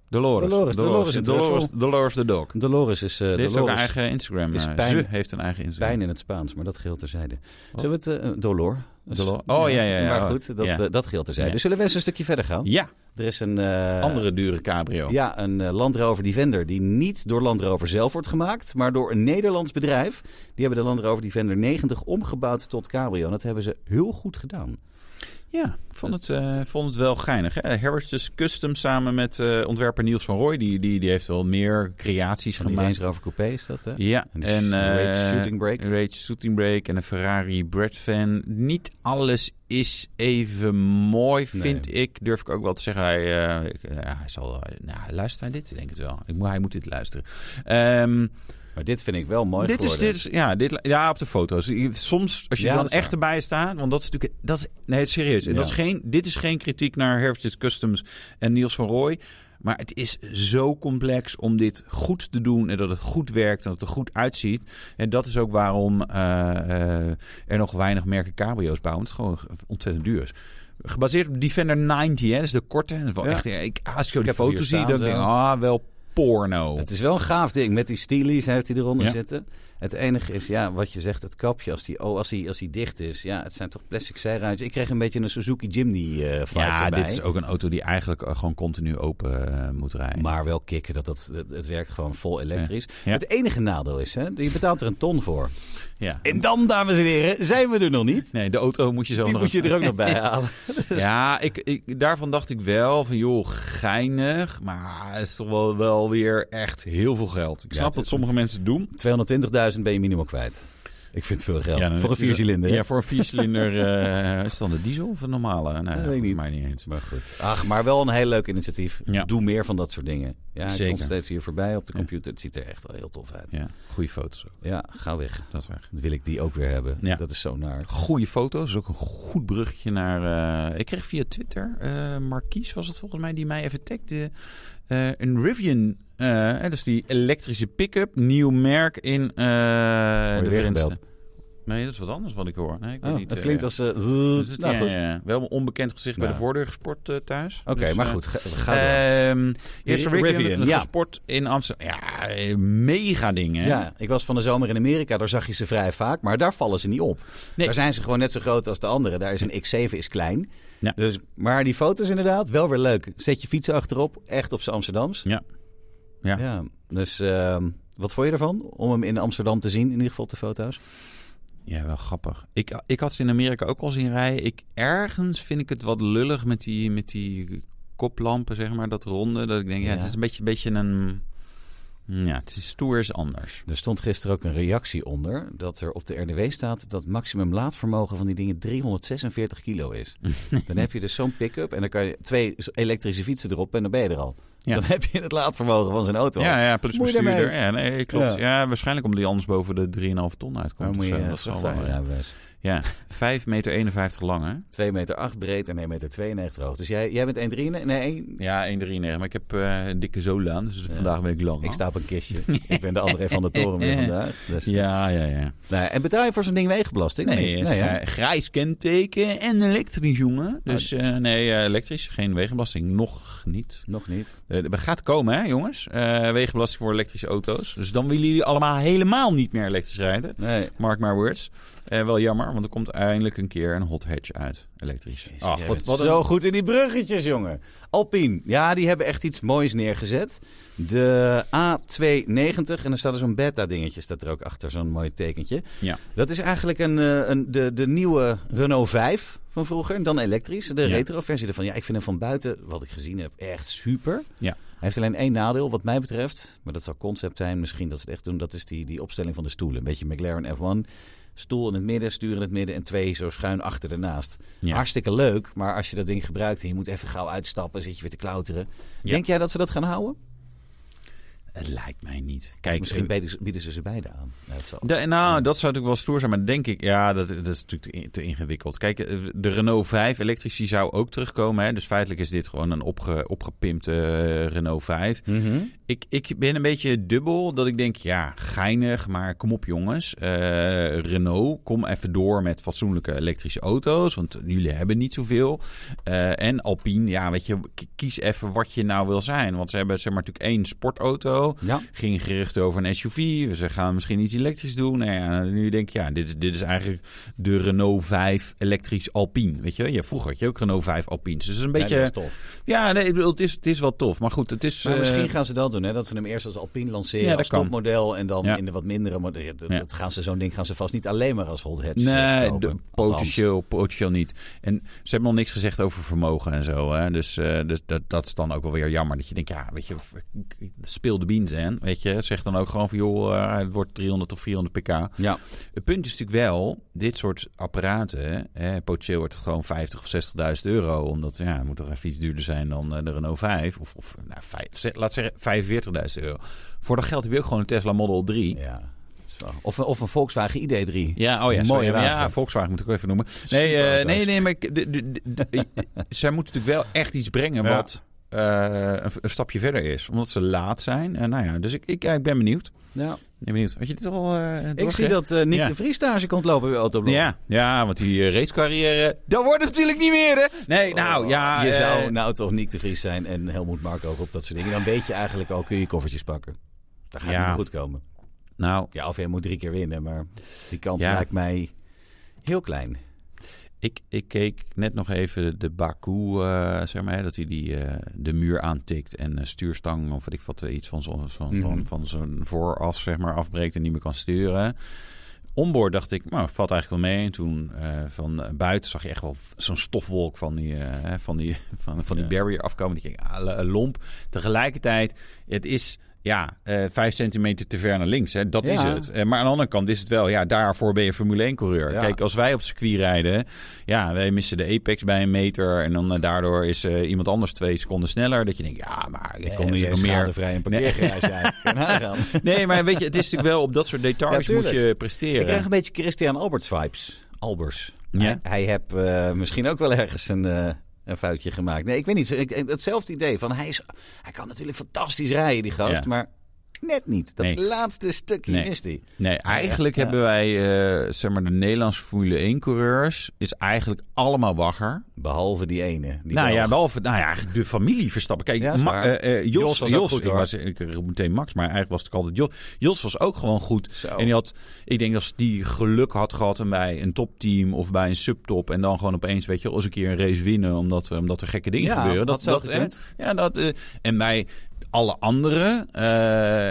[SPEAKER 2] Dolores.
[SPEAKER 1] Dolores, Dolores
[SPEAKER 2] Dolores,
[SPEAKER 1] en
[SPEAKER 2] Dolores,
[SPEAKER 1] Truffel.
[SPEAKER 2] Dolores de dog.
[SPEAKER 1] Dolores is... eh
[SPEAKER 2] Die heeft ook
[SPEAKER 1] Dolores.
[SPEAKER 2] een eigen Instagram.
[SPEAKER 1] Is
[SPEAKER 2] eh,
[SPEAKER 1] pijn-
[SPEAKER 2] Ze heeft een eigen Instagram.
[SPEAKER 1] Pijn in het Spaans, maar dat geheel terzijde. Zullen we het... eh, Dolor. Dus-
[SPEAKER 2] Dolor. Oh, ja, ja, ja.
[SPEAKER 1] Maar
[SPEAKER 2] Oh,
[SPEAKER 1] goed, dat,
[SPEAKER 2] ja.
[SPEAKER 1] eh, dat geheel terzijde.
[SPEAKER 2] Ja.
[SPEAKER 1] Zullen we eens een stukje verder gaan?
[SPEAKER 2] Ja,
[SPEAKER 1] Er is een... eh,
[SPEAKER 2] andere dure cabrio.
[SPEAKER 1] Ja, een eh, Land Rover Defender die niet door Land Rover zelf wordt gemaakt, maar door een Nederlands bedrijf. Die hebben de Land Rover Defender 90 omgebouwd tot cabrio. En dat hebben ze heel goed gedaan.
[SPEAKER 2] Ja, ik vond het, eh, vond het wel geinig. Hè? Heritage Custom samen met eh, ontwerper Niels van Rooij. Die, die, die heeft wel meer creaties
[SPEAKER 1] Van die
[SPEAKER 2] gemaakt.
[SPEAKER 1] Range Rover Coupé is dat, hè?
[SPEAKER 2] Ja,
[SPEAKER 1] En
[SPEAKER 2] en,
[SPEAKER 1] de Rage
[SPEAKER 2] eh,
[SPEAKER 1] Shooting Brake.
[SPEAKER 2] Rage Shooting Brake en een Ferrari Brad Van. Niet alles is even mooi,
[SPEAKER 1] Nee.
[SPEAKER 2] vind ik. Durf ik ook wel te zeggen. Hij, eh, ik- ja, hij zal. eh, nou, luistert hij dit? Ik denk het wel. Ik moet, hij moet dit luisteren. Ehm,
[SPEAKER 1] Maar dit vind ik wel mooi
[SPEAKER 2] Dit is,
[SPEAKER 1] geworden.
[SPEAKER 2] dit is, ja, dit, ja, op de foto's. Soms, als je
[SPEAKER 1] Ja,
[SPEAKER 2] dan
[SPEAKER 1] dat is
[SPEAKER 2] echt
[SPEAKER 1] waar.
[SPEAKER 2] erbij staat, want dat is natuurlijk, dat is, nee, serieus. En
[SPEAKER 1] Ja.
[SPEAKER 2] dat is geen, dit is geen kritiek naar Heritage Customs en Niels van Rooij. Maar het is zo complex om dit goed te doen en dat het goed werkt en dat het er goed uitziet. En dat is ook waarom eh, eh, er nog weinig merken cabrio's bouwen. Het is gewoon ontzettend duur. is. Gebaseerd op Defender 90, hè, dat is de korte. Dat is wel
[SPEAKER 1] Ja.
[SPEAKER 2] echt, ik, als ik zo die
[SPEAKER 1] heb hem
[SPEAKER 2] foto
[SPEAKER 1] hier
[SPEAKER 2] zie,
[SPEAKER 1] staan,
[SPEAKER 2] dan denk ik,
[SPEAKER 1] zo.
[SPEAKER 2] ah, wel porno.
[SPEAKER 1] Het is wel een gaaf ding. Met die stilies heeft hij eronder
[SPEAKER 2] Ja.
[SPEAKER 1] zitten. Het enige is, ja, wat je zegt, het kapje. Als die, oh, als die, als die dicht is, ja, het zijn toch plastic zijruitjes. Ik kreeg een beetje een Suzuki Jimny eh vibe
[SPEAKER 2] Ja,
[SPEAKER 1] erbij.
[SPEAKER 2] dit is ook een auto die eigenlijk eh, gewoon continu open eh, moet rijden.
[SPEAKER 1] Maar wel kicken, dat, dat, het, het werkt gewoon vol elektrisch.
[SPEAKER 2] Ja.
[SPEAKER 1] Het enige nadeel is, hè, je betaalt er een ton voor.
[SPEAKER 2] ja.
[SPEAKER 1] En dan, dames en heren, zijn we er nog niet.
[SPEAKER 2] Nee, de auto moet je zo
[SPEAKER 1] Die
[SPEAKER 2] nog
[SPEAKER 1] moet je
[SPEAKER 2] eens-
[SPEAKER 1] er ook nog bij halen.
[SPEAKER 2] Ja, ik, ik, daarvan dacht ik wel van joh, geinig. Maar het is toch wel, wel weer echt heel veel geld. Ik snap
[SPEAKER 1] het-
[SPEAKER 2] dat sommige mensen het doen.
[SPEAKER 1] 220.000 ben je minimaal kwijt. Ik vind het veel geld.
[SPEAKER 2] dan-
[SPEAKER 1] voor een viercilinder. hè?
[SPEAKER 2] Ja, voor een viercilinder. eh, is het dan de diesel of een normale? Nee,
[SPEAKER 1] weet ik
[SPEAKER 2] volgens
[SPEAKER 1] niet.
[SPEAKER 2] mij niet eens.
[SPEAKER 1] Maar goed. Ach, maar wel een heel leuk initiatief.
[SPEAKER 2] Ja.
[SPEAKER 1] Doe meer van dat soort dingen. Ja, ik kom
[SPEAKER 2] Zeker.
[SPEAKER 1] steeds hier voorbij op de
[SPEAKER 2] Ja.
[SPEAKER 1] computer. Het ziet er echt wel heel tof uit. Ja,
[SPEAKER 2] Ja, goede foto's ook.
[SPEAKER 1] ga weg.
[SPEAKER 2] Dat is waar.
[SPEAKER 1] Dan wil ik die ook weer hebben.
[SPEAKER 2] Ja.
[SPEAKER 1] Dat is zo naar.
[SPEAKER 2] Goede foto's, is ook een goed brugje naar. eh, ik kreeg via Twitter, eh Marquise was het volgens mij, die mij even tagde. eh, een Rivian, eh, hè, dus die elektrische pick-up, nieuw merk in. eh
[SPEAKER 1] je
[SPEAKER 2] de
[SPEAKER 1] weer
[SPEAKER 2] Verenigde-
[SPEAKER 1] gebeld?
[SPEAKER 2] Nee, dat is wat anders wat ik hoor. Nee, ik weet
[SPEAKER 1] Oh,
[SPEAKER 2] niet,
[SPEAKER 1] het
[SPEAKER 2] eh,
[SPEAKER 1] klinkt als... eh,
[SPEAKER 2] dus het-
[SPEAKER 1] nou
[SPEAKER 2] ja,
[SPEAKER 1] goed.
[SPEAKER 2] ja, ja. Wel een onbekend gezicht bij
[SPEAKER 1] Nou.
[SPEAKER 2] de voordeur gesport eh, thuis.
[SPEAKER 1] Oké,
[SPEAKER 2] Dus,
[SPEAKER 1] maar
[SPEAKER 2] eh,
[SPEAKER 1] goed. Ga, ga door. Eh,
[SPEAKER 2] Ehm eerst
[SPEAKER 1] Rivian,
[SPEAKER 2] Rivian, een
[SPEAKER 1] ja.
[SPEAKER 2] gesport in Amsterdam. Ja, eh, mega ding, hè?
[SPEAKER 1] Ja, ik was van de zomer in Amerika, daar zag je ze vrij vaak, maar daar vallen ze niet op.
[SPEAKER 2] Nee.
[SPEAKER 1] Daar zijn ze gewoon net zo groot als de anderen. Daar is een X7 is klein.
[SPEAKER 2] Ja.
[SPEAKER 1] Dus, maar die foto's inderdaad, wel weer leuk. Zet je fiets achterop, echt op z'n Amsterdams.
[SPEAKER 2] Ja. Ja.
[SPEAKER 1] Dus ehm, wat vond je ervan? Om hem in Amsterdam te zien, in ieder geval op de foto's.
[SPEAKER 2] Ja, wel grappig. Ik, ik had ze in Amerika ook al zien rijden. Ik, ergens vind ik het wat lullig met die, met die koplampen, zeg maar, dat ronde. Dat ik denk, ja,
[SPEAKER 1] Ja.
[SPEAKER 2] het is een beetje, beetje een... Ja, het is stoer is anders.
[SPEAKER 1] Er stond gisteren ook een reactie onder dat er op de RDW staat dat maximum laadvermogen van die dingen 346 kilo is. dan heb je dus zo'n pick-up en dan kan je twee elektrische fietsen erop en dan ben je er al.
[SPEAKER 2] Ja.
[SPEAKER 1] Dan heb je het laadvermogen van zijn auto. al.
[SPEAKER 2] Ja, ja, plus
[SPEAKER 1] Moet je daarmee?
[SPEAKER 2] bestuurder. Ja, nee, klopt.
[SPEAKER 1] Ja.
[SPEAKER 2] Ja. waarschijnlijk omdat die anders boven de 3,5 ton
[SPEAKER 1] Dan
[SPEAKER 2] uitkomt.
[SPEAKER 1] moet
[SPEAKER 2] of
[SPEAKER 1] je
[SPEAKER 2] zo.
[SPEAKER 1] eh,
[SPEAKER 2] dus, dat zal wel, ja.
[SPEAKER 1] vrachtwagenrijbewijs.
[SPEAKER 2] ja, 5 meter 51 lang, hè?
[SPEAKER 1] 2 meter 8 breed en 1 meter 92 hoog. Dus jij, jij bent 1,93? Nee, één-
[SPEAKER 2] Ja, 1,93. Maar ik heb eh, een dikke zolen aan, dus vandaag ben ik lang.
[SPEAKER 1] ik sta op een kistje. ik ben de andere van de toren weer vandaag. Dus.
[SPEAKER 2] Ja, ja, ja.
[SPEAKER 1] Nee, en betaal je voor zo'n ding wegenbelasting?
[SPEAKER 2] Nee,
[SPEAKER 1] Of
[SPEAKER 2] het
[SPEAKER 1] niet? Nou
[SPEAKER 2] is
[SPEAKER 1] hè?
[SPEAKER 2] grij- grijs kenteken en elektrisch, jongen. Dus
[SPEAKER 1] Oh.
[SPEAKER 2] eh, nee, eh, elektrisch, geen wegenbelasting. Nog niet.
[SPEAKER 1] Nog niet.
[SPEAKER 2] Eh, we gaat komen, hè, jongens. Eh, wegenbelasting voor elektrische auto's. Dus dan willen jullie allemaal helemaal niet meer elektrisch rijden.
[SPEAKER 1] Nee.
[SPEAKER 2] Mark my words. Eh, wel jammer, want er komt eindelijk een keer een hot hatch uit. Elektrisch.
[SPEAKER 1] Jezus,
[SPEAKER 2] Ah,
[SPEAKER 1] jij
[SPEAKER 2] god,
[SPEAKER 1] bent
[SPEAKER 2] wat een-
[SPEAKER 1] zo goed in die bruggetjes, jongen. Alpine, ja, die hebben echt iets moois neergezet. De A290, en er staat er zo'n beta-dingetje staat er ook achter, zo'n mooi tekentje.
[SPEAKER 2] Ja.
[SPEAKER 1] Dat is eigenlijk een, eh, een, de, de nieuwe Renault 5 van vroeger, en dan elektrisch. De
[SPEAKER 2] Ja.
[SPEAKER 1] retro-versie ervan. Ja, ik vind hem van buiten, wat ik gezien heb, echt super.
[SPEAKER 2] Ja.
[SPEAKER 1] Hij heeft alleen één nadeel, wat mij betreft. Maar dat zal concept zijn, misschien dat ze het echt doen. Dat is die, die opstelling van de stoelen. Een beetje McLaren F1. Stoel in het midden, stuur in het midden en twee zo schuin achter ernaast.
[SPEAKER 2] Ja.
[SPEAKER 1] Hartstikke leuk, maar als je dat ding gebruikt en je moet even gauw uitstappen, zit je weer te klauteren. Denk jij dat ze dat gaan houden?
[SPEAKER 2] Het lijkt mij niet. Kijk, eh,
[SPEAKER 1] Misschien bieden ze- bieden ze ze beide aan. Ja, dat zal.
[SPEAKER 2] Da- nou, dat zou natuurlijk wel stoer zijn, maar denk ik, ja, dat, dat is natuurlijk te, in- te ingewikkeld. Kijk, eh, de Renault 5 elektrisch die zou ook terugkomen. Hè? Dus feitelijk is dit gewoon een opge, opgepimpte eh, Renault 5. Ik, ik ben een beetje dubbel dat ik denk, ja, geinig, maar kom op jongens. Eh, Renault, kom even door met fatsoenlijke elektrische auto's, want jullie hebben niet zoveel. Eh, en Alpine, ja, weet je, k- kies even wat je nou wil zijn. Want ze hebben zeg maar natuurlijk één sportauto
[SPEAKER 1] Ja.
[SPEAKER 2] ging geruchten over een SUV. Ze gaan misschien iets elektrisch doen. Nou ja, nu denk ik, ja, dit is, dit is eigenlijk de Renault 5 elektrisch Alpine. Weet je, ja, vroeger had je ook Renault 5 Alpines. Dus het is
[SPEAKER 1] Ja,
[SPEAKER 2] een beetje...
[SPEAKER 1] dat
[SPEAKER 2] Ja,
[SPEAKER 1] is tof.
[SPEAKER 2] nee, ik bedoel, het, is, het is wel tof. Maar goed, het is...
[SPEAKER 1] Maar
[SPEAKER 2] eh,
[SPEAKER 1] misschien gaan ze dat doen, hè? dat ze hem eerst als Alpine lanceren,
[SPEAKER 2] Ja, dat
[SPEAKER 1] als
[SPEAKER 2] kan.
[SPEAKER 1] topmodel en dan
[SPEAKER 2] Ja.
[SPEAKER 1] in de wat mindere modellen. Ja, Dat,
[SPEAKER 2] Ja.
[SPEAKER 1] dat gaan ze zo'n ding gaan ze vast niet alleen maar als hot hatch. eh,
[SPEAKER 2] Nee,
[SPEAKER 1] verkopen.
[SPEAKER 2] de,
[SPEAKER 1] Althans.
[SPEAKER 2] potentieel, potentieel niet. En ze hebben nog niks gezegd over vermogen en zo. Hè? Dus, eh, dus dat, dat is dan ook wel weer jammer. Dat je denkt, ja, weet je, f- speel de beans en, weet je. Zeg dan ook gewoon van, joh, eh, het wordt 300 of 400 pk.
[SPEAKER 1] Ja,
[SPEAKER 2] Het punt is natuurlijk wel, dit soort apparaten, hè, potentieel wordt het gewoon 50 of 60.000 euro. Omdat, ja, het moet toch even iets duurder zijn dan eh, de Renault 5. Of, of nou, vijf- ze- laat zeggen 45.000 euro. Voor dat geld heb je ook gewoon een Tesla Model 3. Ja.
[SPEAKER 1] ja. Het is wel- Of, of een Volkswagen ID3.
[SPEAKER 2] oh ja, sorry.
[SPEAKER 1] Mooie wagen.
[SPEAKER 2] Ja, Volkswagen moet ik ook even noemen. Nee,
[SPEAKER 1] Super
[SPEAKER 2] eh,
[SPEAKER 1] auto's.
[SPEAKER 2] nee, nee, maar ik- de- de- de- de- zij moeten natuurlijk wel echt iets brengen
[SPEAKER 1] Ja.
[SPEAKER 2] wat eh, een, een stapje verder is. Omdat ze laat zijn. En nou ja, dus ik, ik, ja, ik ben benieuwd.
[SPEAKER 1] Ja.
[SPEAKER 2] Ik ben benieuwd. Had je dit al eh,
[SPEAKER 1] Ik
[SPEAKER 2] doorgegeven?
[SPEAKER 1] zie dat eh, Nick
[SPEAKER 2] Ja.
[SPEAKER 1] de Vries stage komt lopen bij Autoblog.
[SPEAKER 2] Ja, ja, want die eh, racecarrière, dat wordt het natuurlijk niet meer, hè? Nee, nou ja.
[SPEAKER 1] Je
[SPEAKER 2] eh,
[SPEAKER 1] zou nou toch Nick de Vries zijn en Helmoet Mark ook op dat soort dingen. Dan weet je eigenlijk al, kun je koffertjes pakken. Dat gaat
[SPEAKER 2] Ja.
[SPEAKER 1] niet goed komen.
[SPEAKER 2] Nou,
[SPEAKER 1] Ja, of je moet drie keer winnen, maar die kans
[SPEAKER 2] Ja.
[SPEAKER 1] lijkt mij heel klein.
[SPEAKER 2] ik, ik keek net nog even de Baku, eh, zeg maar, hè, dat hij die, eh, de muur aantikt en eh, stuurstang of weet ik wat, eh, iets van zo'n van,
[SPEAKER 1] Mhm.
[SPEAKER 2] van, van zo'n vooras, zeg maar, afbreekt en niet meer kan sturen. Onboord dacht ik, nou, valt eigenlijk wel mee. En toen eh, van eh, buiten zag je echt wel zo'n stofwolk van die, eh, hè, van die, van, van die barrier afkomen. Die ging ah, l- lomp. Tegelijkertijd, het is ja, eh, vijf centimeter te ver naar links. Hè. Dat
[SPEAKER 1] Ja.
[SPEAKER 2] is het. Eh, maar aan de andere kant is het wel, ja, daarvoor ben je Formule 1-coureur.
[SPEAKER 1] Ja.
[SPEAKER 2] Kijk, als wij op circuit rijden, ja, wij missen de apex bij een meter. En dan eh, daardoor is eh, iemand anders twee seconden sneller. Dat je denkt, ja, maar ik kon
[SPEAKER 1] Eh,
[SPEAKER 2] hier
[SPEAKER 1] ze
[SPEAKER 2] nog meer.
[SPEAKER 1] schadevrij een parkeergarage uit. Kan aangaan.
[SPEAKER 2] Nee, maar weet je, het is natuurlijk wel op dat soort details
[SPEAKER 1] Ja,
[SPEAKER 2] moet
[SPEAKER 1] tuurlijk.
[SPEAKER 2] je
[SPEAKER 1] Ik
[SPEAKER 2] presteren.
[SPEAKER 1] krijg een beetje Christian Alberts vibes. Albers.
[SPEAKER 2] Ja.
[SPEAKER 1] Hij, hij heeft eh, misschien ook wel ergens een, eh, een foutje gemaakt. Nee, ik weet niet. Ik, ik- hetzelfde idee. Van hij, is, hij kan natuurlijk fantastisch rijden, die gast.
[SPEAKER 2] Ja.
[SPEAKER 1] Maar net niet. Dat
[SPEAKER 2] Nee.
[SPEAKER 1] laatste stukje
[SPEAKER 2] Nee.
[SPEAKER 1] mist hij.
[SPEAKER 2] Nee, eigenlijk
[SPEAKER 1] Ja.
[SPEAKER 2] hebben wij, eh, zeg maar, de Nederlandse Formule 1-coureurs is eigenlijk allemaal bagger.
[SPEAKER 1] Behalve die ene. Die
[SPEAKER 2] nou
[SPEAKER 1] wel-
[SPEAKER 2] ja, behalve nou ja, eigenlijk de familie Verstappen. Kijk,
[SPEAKER 1] Ja, is
[SPEAKER 2] Ma-
[SPEAKER 1] waar.
[SPEAKER 2] eh, eh, Jos,
[SPEAKER 1] Jos was
[SPEAKER 2] was
[SPEAKER 1] ook
[SPEAKER 2] Jos,
[SPEAKER 1] goed,
[SPEAKER 2] ik
[SPEAKER 1] hoor.
[SPEAKER 2] was- ik roep meteen Max, maar eigenlijk was het ook altijd Jos. Jos was ook gewoon goed.
[SPEAKER 1] Zo.
[SPEAKER 2] En die had, ik denk als die geluk had gehad en bij een topteam of bij een subtop en dan gewoon opeens, weet je, als een keer een race winnen omdat, eh, omdat er gekke dingen
[SPEAKER 1] Ja,
[SPEAKER 2] gebeuren.
[SPEAKER 1] had zo gekund.
[SPEAKER 2] eh, ja, dat eh, en bij alle anderen, eh,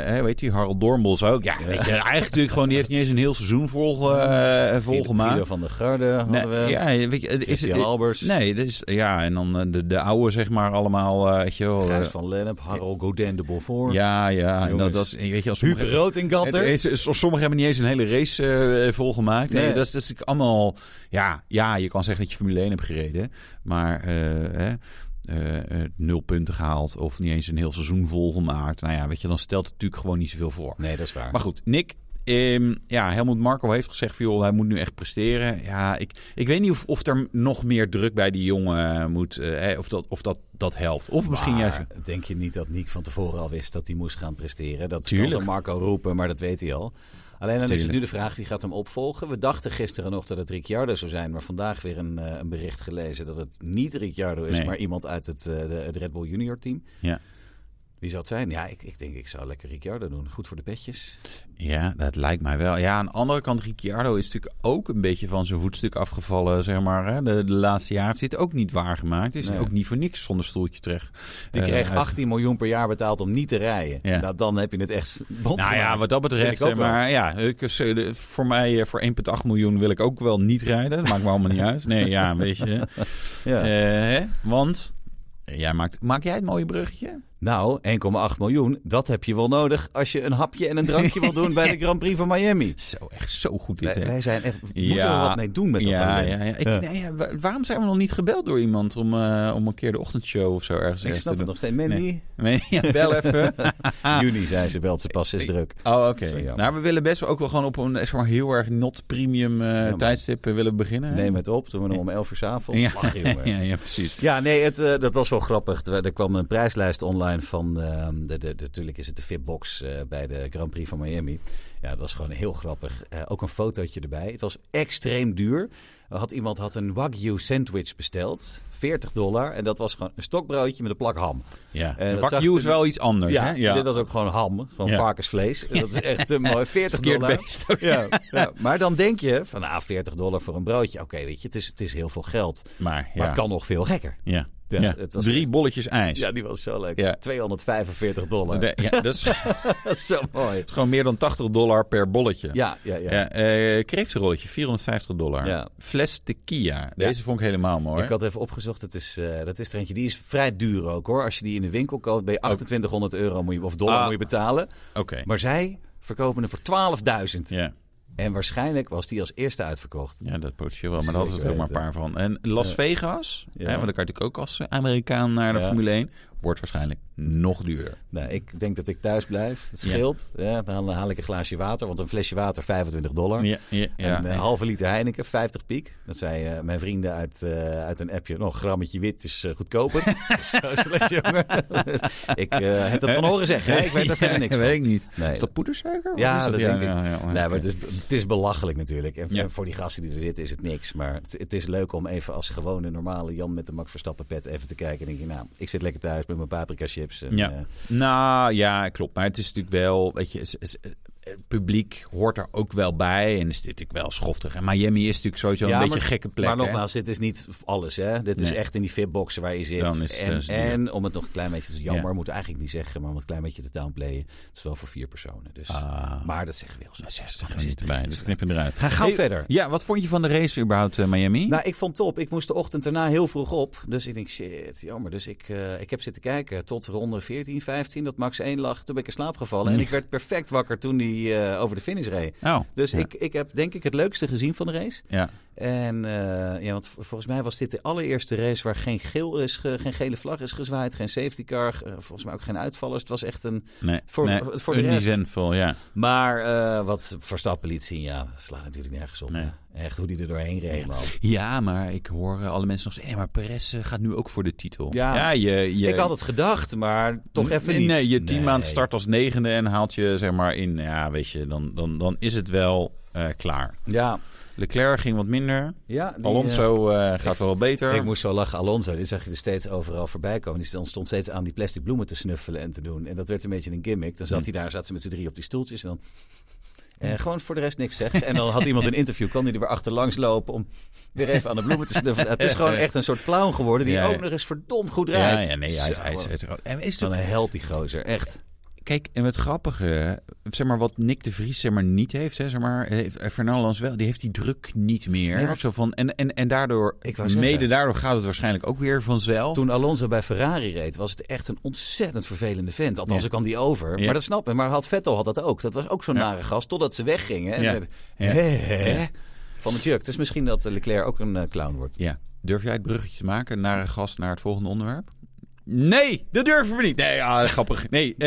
[SPEAKER 2] hè, weet je, Harold Dornbos ook. Ja, weet je, eigenlijk natuurlijk gewoon, die heeft niet eens een heel seizoen vol, eh, volgemaakt.
[SPEAKER 1] Guido van der Garde hadden
[SPEAKER 2] Nee,
[SPEAKER 1] we.
[SPEAKER 2] ja, weet je, is
[SPEAKER 1] Christian
[SPEAKER 2] het-
[SPEAKER 1] Albers.
[SPEAKER 2] Nee, dus, ja, en dan eh, de, de oude, zeg maar, allemaal, eh, weet je wel. eh,
[SPEAKER 1] Gijs van Lennep, Harold Godin de Beaufort.
[SPEAKER 2] ja, ja.
[SPEAKER 1] Jongens.
[SPEAKER 2] Nou, dat is, weet je, als
[SPEAKER 1] Huub Roodingatter.
[SPEAKER 2] Het is- is- Sommigen hebben niet eens een hele race eh, volgemaakt.
[SPEAKER 1] Nee.
[SPEAKER 2] Nee, dat is, dat is natuurlijk allemaal... Ja, ja, je kan zeggen dat je Formule 1 hebt gereden. Maar eh, hè, eh, eh, nul punten gehaald of niet eens een heel seizoen volgemaakt. Nou ja, weet je, dan stelt het natuurlijk gewoon niet zoveel voor.
[SPEAKER 1] Nee, dat is waar.
[SPEAKER 2] Maar goed, Nick. ehm, ja, Helmut Marco heeft gezegd van, joh, hij moet nu echt presteren. Ja, ik, ik weet niet of, of er nog meer druk bij die jongen eh, moet. eh, hè, of dat, of dat, dat helpt. Of misschien
[SPEAKER 1] Maar
[SPEAKER 2] juist...
[SPEAKER 1] Denk je niet dat Nick van tevoren al wist dat hij moest gaan presteren? Dat
[SPEAKER 2] Tuurlijk.
[SPEAKER 1] kan zo Marco roepen, maar dat weet hij al. Alleen dan is het
[SPEAKER 2] Tuurlijk.
[SPEAKER 1] nu de vraag wie gaat hem opvolgen. We dachten gisteren nog dat het Ricciardo zou zijn, maar vandaag weer een, eh, een bericht gelezen dat het niet Ricciardo is,
[SPEAKER 2] Nee.
[SPEAKER 1] maar iemand uit het, eh, de, het Red Bull Junior team.
[SPEAKER 2] Ja.
[SPEAKER 1] Wie zou het zijn? Ja, ik, ik denk ik zou lekker Ricciardo doen. Goed voor de petjes.
[SPEAKER 2] Ja, dat lijkt mij wel. Ja, aan de andere kant, Ricciardo is natuurlijk ook een beetje van zijn voetstuk afgevallen, zeg maar. Hè. De, de laatste jaar heeft hij het ook niet waargemaakt. Is
[SPEAKER 1] Nee.
[SPEAKER 2] ook niet voor niks zonder stoeltje terecht.
[SPEAKER 1] Die
[SPEAKER 2] Eh,
[SPEAKER 1] kreeg
[SPEAKER 2] uit-
[SPEAKER 1] 18 miljoen per jaar betaald om niet te rijden.
[SPEAKER 2] Ja.
[SPEAKER 1] Nou, dan heb je het echt bond
[SPEAKER 2] Nou ja,
[SPEAKER 1] gemaakt.
[SPEAKER 2] wat dat betreft,
[SPEAKER 1] Vind ik ook
[SPEAKER 2] eh, maar ja, ik, eh, de- voor mij, eh, voor 1,8 miljoen wil ik ook wel niet rijden. Dat maakt me allemaal niet uit. Nee, ja, weet je.
[SPEAKER 1] Ja.
[SPEAKER 2] Eh, hè? Want, eh, jij maakt, maak jij het mooie bruggetje?
[SPEAKER 1] Nou, 1,8 miljoen, dat heb je wel nodig als je een hapje en een drankje wil doen bij de Grand Prix van Miami.
[SPEAKER 2] Zo, echt zo goed dit,
[SPEAKER 1] Wij,
[SPEAKER 2] hè?
[SPEAKER 1] wij zijn echt, moeten
[SPEAKER 2] Ja.
[SPEAKER 1] we wat mee doen met dat
[SPEAKER 2] ja,
[SPEAKER 1] talent.
[SPEAKER 2] ja, ja. Ik,
[SPEAKER 1] Ja.
[SPEAKER 2] nee, ja, wa- waarom zijn we nog niet gebeld door iemand om, eh, om een keer de ochtendshow of zo ergens
[SPEAKER 1] Ik
[SPEAKER 2] ergens
[SPEAKER 1] snap
[SPEAKER 2] te
[SPEAKER 1] het
[SPEAKER 2] doen?
[SPEAKER 1] nog steeds. Mandy, Ah.
[SPEAKER 2] Nee, ja, bel even.
[SPEAKER 1] juni zei ze, belt ze pas, ze is druk.
[SPEAKER 2] Oh, oké.
[SPEAKER 1] Zo jammer.
[SPEAKER 2] Nou, we willen best wel ook wel gewoon op een eh, zeg maar, heel erg not premium eh,
[SPEAKER 1] maar-
[SPEAKER 2] tijdstip eh, willen we beginnen. hè?
[SPEAKER 1] Neem het op, doen we hem om 11 uur s'avonds.
[SPEAKER 2] Ja.
[SPEAKER 1] Ja. Lach, jongen.
[SPEAKER 2] ja, ja, precies.
[SPEAKER 1] Ja, nee, het, eh, dat was wel grappig. Er er kwam een prijslijst online van. eh, de, de, de- natuurlijk is het de VIP-box eh, bij de Grand Prix van Miami. Ja, dat was gewoon heel grappig. Eh, ook een fotootje erbij. Het was extreem duur. Er Had iemand had een Wagyu sandwich besteld. 40 dollar. En dat was gewoon een stokbroodje met een plak ham.
[SPEAKER 2] Ja.
[SPEAKER 1] Eh, dat
[SPEAKER 2] Pak
[SPEAKER 1] zag
[SPEAKER 2] you
[SPEAKER 1] er-
[SPEAKER 2] is wel iets anders.
[SPEAKER 1] Ja,
[SPEAKER 2] hè? ja.
[SPEAKER 1] dit was ook gewoon ham. Gewoon
[SPEAKER 2] Ja.
[SPEAKER 1] varkensvlees. Dat is echt eh, mooi. 40
[SPEAKER 2] Verkeerd
[SPEAKER 1] dollar.
[SPEAKER 2] beest ook.
[SPEAKER 1] Ja, ja. Maar dan denk je van ah, 40 dollar voor een broodje. Oké, weet je, het is, het is heel veel geld.
[SPEAKER 2] Maar, ja.
[SPEAKER 1] Maar het kan nog veel gekker.
[SPEAKER 2] Ja.
[SPEAKER 1] Ja,
[SPEAKER 2] Ja.
[SPEAKER 1] het was-
[SPEAKER 2] Drie bolletjes ijs.
[SPEAKER 1] Ja, die was zo leuk.
[SPEAKER 2] Ja.
[SPEAKER 1] 245 dollar.
[SPEAKER 2] De- ja, dat is
[SPEAKER 1] Dat is zo mooi.
[SPEAKER 2] gewoon meer dan 80 dollar per bolletje.
[SPEAKER 1] Ja, ja, ja.
[SPEAKER 2] Ja, eh, kreeftenrolletje, 450 dollar.
[SPEAKER 1] Ja.
[SPEAKER 2] Fles tequila. Deze vond ik helemaal mooi.
[SPEAKER 1] Ik had even opgezocht, het is, eh, dat is er eentje. Die is vrij duur ook hoor. Als je die in de winkel koopt, ben je 2800 euro moet je, of dollar
[SPEAKER 2] Ah.
[SPEAKER 1] moet je betalen.
[SPEAKER 2] Oké.
[SPEAKER 1] Maar zij verkopen hem voor 12.000.
[SPEAKER 2] Ja.
[SPEAKER 1] En waarschijnlijk was die als eerste uitverkocht.
[SPEAKER 2] ja, dat potentieel wel. Maar daar hadden ze er ook maar een
[SPEAKER 1] Zeker
[SPEAKER 2] paar van. En Las Vegas,
[SPEAKER 1] Ja.
[SPEAKER 2] hè, want daar kan je natuurlijk ook als eh, Amerikaan naar de
[SPEAKER 1] Ja.
[SPEAKER 2] Formule 1. Wordt waarschijnlijk nog duurder.
[SPEAKER 1] Nou, ik denk dat ik thuis blijf. Het scheelt. Ja, dan haal ik een glaasje water, want een flesje water 25 dollar.
[SPEAKER 2] Ja, ja, ja.
[SPEAKER 1] Een eh, halve liter Heineken, 50 piek. Dat zei eh, mijn vrienden uit, eh, uit een appje. Nog een grammetje wit is eh, goedkoper. Zo slecht, jongen. Dus ik eh, heb dat van horen zeggen. hè. Ik weet er verder niks
[SPEAKER 2] Ja,
[SPEAKER 1] van.
[SPEAKER 2] Weet ik niet.
[SPEAKER 1] Nee.
[SPEAKER 2] Is dat poedersuiker? Wat
[SPEAKER 1] Ja,
[SPEAKER 2] is
[SPEAKER 1] dat denk ik.
[SPEAKER 2] Ja, ja, ja.
[SPEAKER 1] nee, maar het is, het is belachelijk natuurlijk. En voor-
[SPEAKER 2] Ja.
[SPEAKER 1] voor die gasten die er zitten is het niks. Maar het, het is leuk om even als gewone normale Jan met de Max Verstappen pet even te kijken. En denk je, nou, ik zit lekker thuis met mijn paprika chips. En,
[SPEAKER 2] Ja.
[SPEAKER 1] eh,
[SPEAKER 2] Nou ja, klopt. Maar het is natuurlijk wel, weet je, is- is- eh, het publiek hoort er ook wel bij. En is dit natuurlijk wel schoftig. En Miami is natuurlijk sowieso een beetje
[SPEAKER 1] maar-
[SPEAKER 2] een gekke plek.
[SPEAKER 1] Maar
[SPEAKER 2] hè?
[SPEAKER 1] nogmaals, dit is niet alles. Hè? Dit is
[SPEAKER 2] Nee.
[SPEAKER 1] echt in die fitboxen waar je zit.
[SPEAKER 2] Dan is het, eh,
[SPEAKER 1] en,
[SPEAKER 2] duur.
[SPEAKER 1] en om het nog een klein beetje te jammer,
[SPEAKER 2] Ja.
[SPEAKER 1] moet eigenlijk niet zeggen, maar om het een klein beetje te downplayen. Het is wel voor vier personen. Dus.
[SPEAKER 2] Ah,
[SPEAKER 1] Maar dat zeggen we wel zo.
[SPEAKER 2] dat is er gewoon niet bij. Dat knip je eruit.
[SPEAKER 1] Ga gauw verder.
[SPEAKER 2] Ja, wat vond je van de race überhaupt, eh, Miami?
[SPEAKER 1] Nou, ik vond top. Ik moest de ochtend daarna heel vroeg op. Dus ik denk, shit, jammer. Dus ik, eh, ik heb zitten kijken tot ronde 14, 15, dat Max 1 lag. Toen ben ik in slaap gevallen. En ik werd perfect wakker toen hij eh, over de finish reed.
[SPEAKER 2] oh,
[SPEAKER 1] Dus
[SPEAKER 2] Ja.
[SPEAKER 1] ik, ik heb denk ik het leukste gezien van de race.
[SPEAKER 2] ja.
[SPEAKER 1] En eh, ja, want v- volgens mij was dit de allereerste race waar geen, geel is ge- geen gele vlag is gezwaaid, geen safety car, eh, volgens mij ook geen uitvallers. Het was echt een.
[SPEAKER 2] Nee,
[SPEAKER 1] Voor-
[SPEAKER 2] nee,
[SPEAKER 1] voor de rest.
[SPEAKER 2] uneventful, ja.
[SPEAKER 1] Maar eh, wat Verstappen liet zien, ja, dat slaat natuurlijk nergens op.
[SPEAKER 2] Nee.
[SPEAKER 1] hè. Echt hoe die er doorheen reed, man.
[SPEAKER 2] Ja, maar ik hoor eh, alle mensen nog zeggen... "Hé, maar Perez eh, gaat nu ook voor de titel.
[SPEAKER 1] Ja.
[SPEAKER 2] je, je,
[SPEAKER 1] Ik had het gedacht, maar toch even
[SPEAKER 2] nee,
[SPEAKER 1] niet.
[SPEAKER 2] Nee, je team aan het
[SPEAKER 1] Nee.
[SPEAKER 2] start als negende en haalt je zeg maar in. Ja, weet je, dan, dan, dan is het wel eh, klaar.
[SPEAKER 1] Ja,
[SPEAKER 2] Leclerc ging wat minder.
[SPEAKER 1] ja die, eh,
[SPEAKER 2] Alonso eh, gaat wel beter.
[SPEAKER 1] ik moest zo lachen, Alonso. Dit zag je er steeds overal voorbij komen. Die dan stond steeds aan die plastic bloemen te snuffelen en te doen. En dat werd een beetje een gimmick. Dan
[SPEAKER 2] Hm.
[SPEAKER 1] zat hij daar, zaten ze met z'n drie op die stoeltjes. En dan eh, gewoon voor de rest niks zeggen. En dan had iemand een interview, kwam hij er weer achterlangs lopen om weer even aan de bloemen te snuffelen. Het is gewoon echt een soort clown geworden die
[SPEAKER 2] Ja, ja.
[SPEAKER 1] ook nog eens verdomd goed
[SPEAKER 2] ja,
[SPEAKER 1] rijdt.
[SPEAKER 2] ja, nee, hij is,
[SPEAKER 1] Zo,
[SPEAKER 2] hij is, hij is- en is
[SPEAKER 1] Wat
[SPEAKER 2] toch-
[SPEAKER 1] een held die gozer, echt.
[SPEAKER 2] Kijk, en het grappige, zeg maar wat Nick de Vries zeg maar niet heeft, hè, zeg maar, heeft eh, Fernando Lans wel, die heeft die druk niet meer.
[SPEAKER 1] Nee, want-
[SPEAKER 2] zo van, en, en, en daardoor,
[SPEAKER 1] Ik wou zeggen.
[SPEAKER 2] mede daardoor gaat het waarschijnlijk ook weer vanzelf.
[SPEAKER 1] Toen Alonso bij Ferrari reed, was het echt een ontzettend vervelende vent. Althans,
[SPEAKER 2] Ja.
[SPEAKER 1] ik kwam die over.
[SPEAKER 2] Ja.
[SPEAKER 1] Maar dat snap ik. Maar had Vettel had dat ook. Dat was ook zo'n nare gast, totdat ze weggingen. En
[SPEAKER 2] Ja.
[SPEAKER 1] zeiden,
[SPEAKER 2] Ja.
[SPEAKER 1] "Hè, hè?" Van het juk. Dus misschien dat eh, Leclerc ook een eh, clown wordt.
[SPEAKER 2] Ja. Durf jij het bruggetje te maken naar een gast naar het volgende onderwerp? Nee, dat durven we niet. Nee, ah, grappig. Nee, eh,